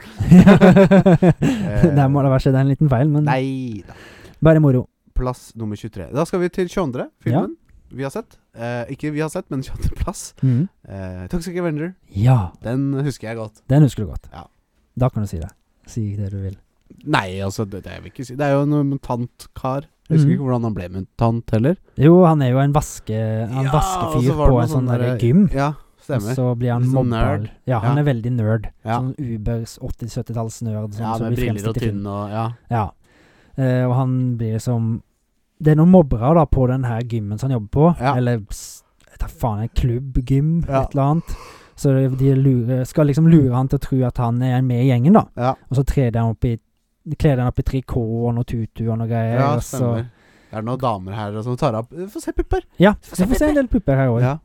S1: Der må det være skjedd en liten feil, men
S2: Eh, Nei da.
S1: bare moro.
S2: Plass nummer 23. Da skal vi til 22. filmen vi har sett. Eh, ikke vi har sett, men 22. plass.
S1: Mm.
S2: Eh, Toxic Avenger.
S1: Ja,
S2: Den husker jeg godt.
S1: den husker du godt.
S2: Ja.
S1: Da kan du si det. Si det du vil.
S2: Nei, altså, det, det vil jeg ikke si. Det er jo en mutantkar. Jeg husker
S1: Mhm.
S2: ikke hvordan han ble mutant heller.
S1: Jo, han er jo en vaske... Han
S2: Ja, og så
S1: vaskefyr
S2: var det
S1: på
S2: noe
S1: en sånn
S2: sånn
S1: der
S2: der-
S1: gym.
S2: Ja,
S1: Og
S2: stemmer.
S1: så blir han
S2: Litt sånn
S1: mobba.
S2: nerd.
S1: Ja, han
S2: Ja.
S1: er veldig nerd.
S2: Ja.
S1: Sånn Ubers 80-70-talls-nerd. Sånn,
S2: ja,
S1: som
S2: med
S1: blir
S2: briller og
S1: fremstilt i film.
S2: tynne og Ja.
S1: Ja. Eh, og han blir som Det er noen mobbere da på den her gymmen som han jobber på.
S2: Ja.
S1: Eller s- jeg tar faen, en klubbgym,
S2: Ja.
S1: et eller annet. Så de lurer, skal liksom lure han til å tro at han er med i gjengen, da.
S2: Ja,
S1: Og så trer de han opp i Kler han opp i trikot og noe tutu og noe greier.
S2: ja
S1: og så,
S2: stemmer. Det er noen damer her og som tar opp Få se pupper!
S1: ja,
S2: Få
S1: så
S2: se
S1: vi får se en del pupper her òg.
S2: Ja.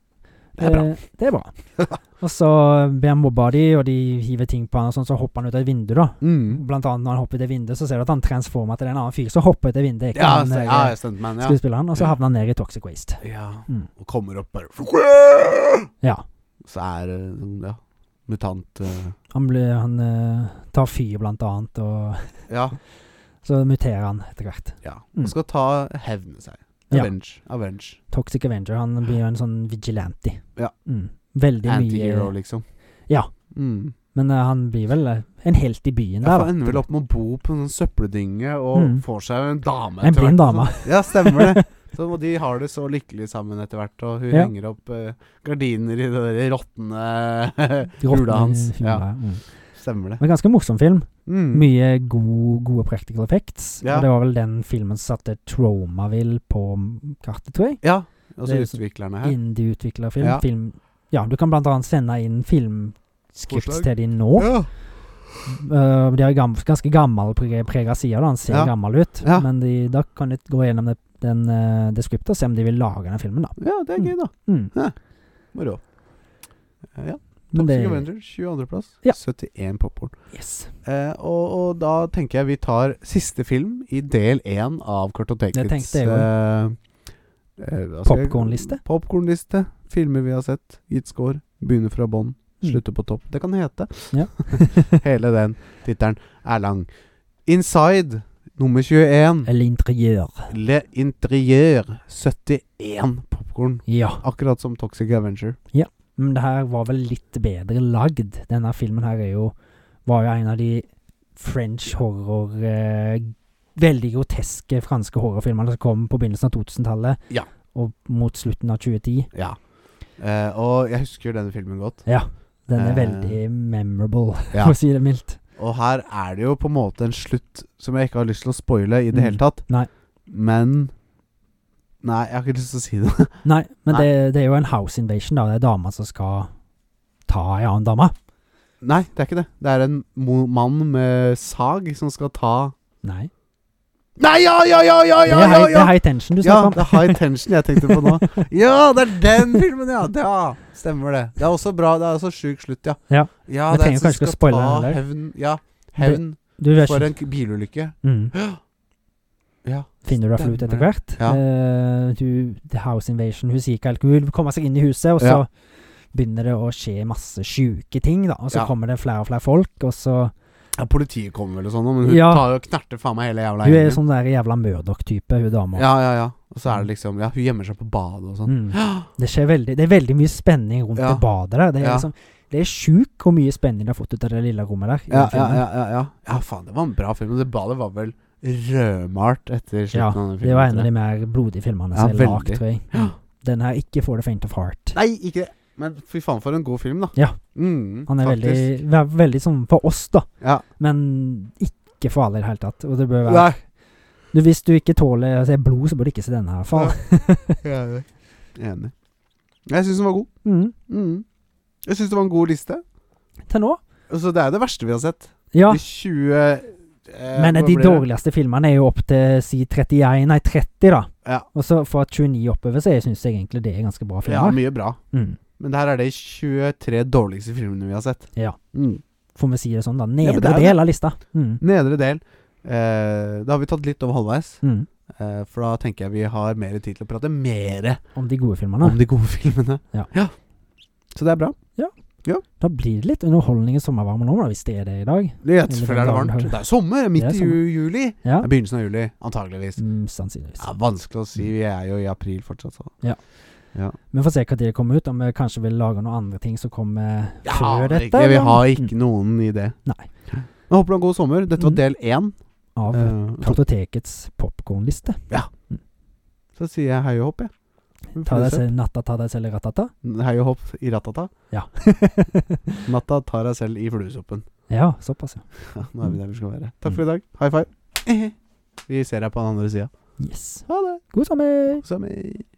S2: Det er bra.
S1: det er bra. og så blir han mobba av de, og de hiver ting på han, og sånn, så hopper han ut av et vindu, da.
S2: Mm.
S1: Blant annet når han hopper ut av vinduet, så ser du at han transformer til en annen fyr som hopper ut av vinduet. Ikke
S2: Ja,
S1: han,
S2: se,
S1: eh,
S2: ja, Stuntman, ja.
S1: skuespilleren, og så havner han ned i Toxic Waste.
S2: ja.
S1: Mm.
S2: Og kommer opp bare
S1: Ja.
S2: Så er det sånn, ja, mutant eh,
S1: Han, blir, han eh, tar fyr, blant annet, og
S2: Ja.
S1: så muterer han etter hvert.
S2: ja.
S1: Mm.
S2: Og skal ta hevne seg.
S1: Ja.
S2: Avenge. Avenge.
S1: Toxic Avenger, han blir jo en sånn vigilante.
S2: Ja.
S1: Mm. Veldig mye
S2: Antihero, liksom.
S1: Ja.
S2: Mm.
S1: Men eh, han blir vel eh, en helt i byen
S2: Ja, for
S1: der, da.
S2: han ender vel opp med å bo på en sånn søppeldynge og
S1: Mm.
S2: får seg en dame.
S1: En
S2: etter hvert,
S1: blind dame.
S2: og sånn. Ja, stemmer det. Så, og de har det så lykkelig sammen etter hvert, og hun
S1: Ja.
S2: henger opp eh, gardiner i det der råtne
S1: Rotten
S2: hula hans.
S1: fyr,
S2: Ja,
S1: ja, Mm.
S2: stemmer det.
S1: Men ganske morsom film.
S2: Mm.
S1: Mye god, gode practical effects.
S2: Ja.
S1: Og det var vel den filmen som satte Tromaville på kartet, tror jeg.
S2: Ja, og så
S1: Det er sånn så-
S2: utviklerne her.
S1: Indieutvikla film.
S2: Ja.
S1: film. Ja, du kan blant annet sende inn filmskrips
S2: Forslag.
S1: til de nå.
S2: Ja.
S1: Uh, de har gam ganske gammel pre- prega side, da. Han ser
S2: Ja.
S1: gammel ut.
S2: Ja.
S1: Men de, da kan de gå gjennom det, den, eh, det skriptet og se om de vil lage den filmen, da.
S2: ja, det er gøy, da.
S1: Mm.
S2: Moro. Eh, Ja.
S1: Men
S2: Toxic
S1: det-
S2: Avenger, 22.-plass.
S1: Ja.
S2: 71 popkorn.
S1: Yes.
S2: Eh, og, og da tenker jeg vi tar siste film i del én av
S1: Det
S2: Kartotekets eh,
S1: tenkte jeg Popcornliste?
S2: Popkornliste. Filmer vi har sett, gitt score, begynner fra bånn,
S1: Mm.
S2: slutter på topp. Det kan hete.
S1: Ja.
S2: Hele den tittelen er lang. Inside nummer 21.
S1: Eller interiør.
S2: Le Interieur 71 popkorn.
S1: Ja.
S2: Akkurat som Toxic Avenger.
S1: Men det her var vel litt bedre lagd. Denne filmen her er jo Var jo en av de French horror eh, Veldig groteske franske horrorfilmene som kom på begynnelsen av 2000-tallet.
S2: Ja.
S1: Og mot slutten av 2010.
S2: Ja. Eh, og jeg husker denne filmen godt.
S1: Den er
S2: Eh.
S1: veldig memorable,
S2: Ja.
S1: for å si det mildt.
S2: Og her er det jo på en måte en slutt som jeg ikke har lyst til å spoile i det
S1: Mm.
S2: hele tatt.
S1: Nei.
S2: Men Nei, jeg har ikke lyst til å si det.
S1: Nei, men
S2: Nei.
S1: Det, det er jo en house invasion, da. Det er dama som skal ta ei annen dame.
S2: Nei, det er ikke det. Det er en mo mann med sag som skal ta
S1: Nei.
S2: Nei, ja, ja, ja, ja!
S1: det,
S2: Ja, ja,
S1: er high, det
S2: ja.
S1: er high tension du
S2: ja
S1: snakker
S2: det er high tension jeg tenkte på nå. Ja, det er den filmen, ja! Ja, stemmer det. Det er også bra. Det er også sjuk slutt, ja.
S1: Ja.
S2: ja
S1: Vi
S2: det er en
S1: trenger
S2: som
S1: kanskje ikke å
S2: skal
S1: spoile
S2: ta
S1: den heller.
S2: Hevn, ja, hevn
S1: om. Du vet
S2: for
S1: ikke.
S2: en k- bilulykke.
S1: Mm.
S2: Ja.
S1: finner du deg flut etter
S2: Stemmer.
S1: hvert.
S2: Ja.
S1: Eh, du, the house invasion, hun sier ikke helt Hun vil komme seg inn i huset, og så
S2: Ja.
S1: begynner det å skje masse sjuke ting, da. Og så
S2: Ja.
S1: kommer det flere og flere folk, og så
S2: Ja, Politiet kommer vel og sånn, men hun
S1: Ja.
S2: tar jo knerter faen meg hele jævla
S1: Hun er
S2: gjengen.
S1: sånn der jævla Murdoch-type, hun dama.
S2: Ja, ja, ja. Og så er det liksom Ja, hun gjemmer seg på badet og sånn.
S1: Mm. Det skjer veldig Det er veldig mye spenning rundt
S2: Ja.
S1: det badet der. Det er
S2: Ja.
S1: liksom Det er sjukt hvor mye spenning de har fått ut av det lille rommet der. i
S2: Ja, ja,
S1: den filmen.
S2: ja, ja, ja. ja, faen, det var en bra film. Og det badet var vel rødmalt etter slutten
S1: Ja,
S2: av den filmen.
S1: Det var en av
S2: tror jeg.
S1: de mer blodige filmene
S2: Ja,
S1: som er lagd,
S2: veldig.
S1: tror jeg.
S2: Ja.
S1: Den her ikke for the faint of heart.
S2: Nei, ikke det. Men fy faen, for en god film, da.
S1: Ja.
S2: Mm,
S1: Han er veldig,
S2: faktisk.
S1: ve- veldig sånn for oss, da.
S2: Ja.
S1: Men ikke for alle i det hele tatt. Og det bør være
S2: Nei.
S1: Du, hvis du ikke tåler å se blod, så bør du ikke se denne her. Faen.
S2: Enig. Enig. Jeg syns den var god.
S1: Mm.
S2: Mm. Jeg syns det var en god liste.
S1: Til nå?
S2: Så det er jo det verste vi har sett.
S1: Ja,
S2: De 20 eh,
S1: men
S2: hva
S1: de
S2: blir det?
S1: dårligste filmene er jo opp til si 31, nei 30, da.
S2: Ja.
S1: Og så fra 29 oppover, så syns jeg egentlig det er ganske bra
S2: Ja,
S1: filmer.
S2: mye bra.
S1: Mm.
S2: Men det her er de 23 dårligste filmene vi har sett.
S1: Ja.
S2: Mm.
S1: Får vi si det sånn, da.
S2: men
S1: Nedre
S2: det er jo
S1: del av lista. Mm.
S2: Nedre del. Eh, da har vi tatt litt over halvveis,
S1: Mm.
S2: eh, for da tenker jeg vi har mer tid til å prate mere
S1: Om de gode filmene.
S2: om de gode filmene.
S1: Ja.
S2: Så det er bra.
S1: Da blir det litt underholdning i sommervarmen nå, da, hvis det er det i dag.
S2: Det er, selvfølgelig er det
S1: Eller-
S2: varmt. Det er sommer. det er Midt
S1: Det er
S2: i ju- juli.
S1: Ja.
S2: Det er Begynnelsen av juli, antageligvis.
S1: Mm, sannsynligvis.
S2: Ja, vanskelig å si. Vi er jo i april fortsatt. Så.
S1: Vi får se hva tid det kommer ut, om vi kanskje vil lage noen andre ting som kommer
S2: Ja,
S1: før dette.
S2: ikke, vi
S1: eller? Mm.
S2: har ikke noen idé.
S1: Nei.
S2: Men håper du har en god sommer. Dette var
S1: Mm.
S2: del én.
S1: Av
S2: Eh, så,
S1: Kartotekets popkornliste.
S2: så sier jeg hei og hopp, jeg.
S1: Ta deg selv natta, ta deg selv i ratata.
S2: Hei og hopp i ratata.
S1: Ja.
S2: Natta tar deg selv i fluesoppen.
S1: Ja, såpass, ja.
S2: Ja, nå er vi der vi skal være. Takk for i dag. High five. Vi ser deg på den andre sida.
S1: Yes.
S2: Ha det.
S1: God sommer!
S2: Sommer.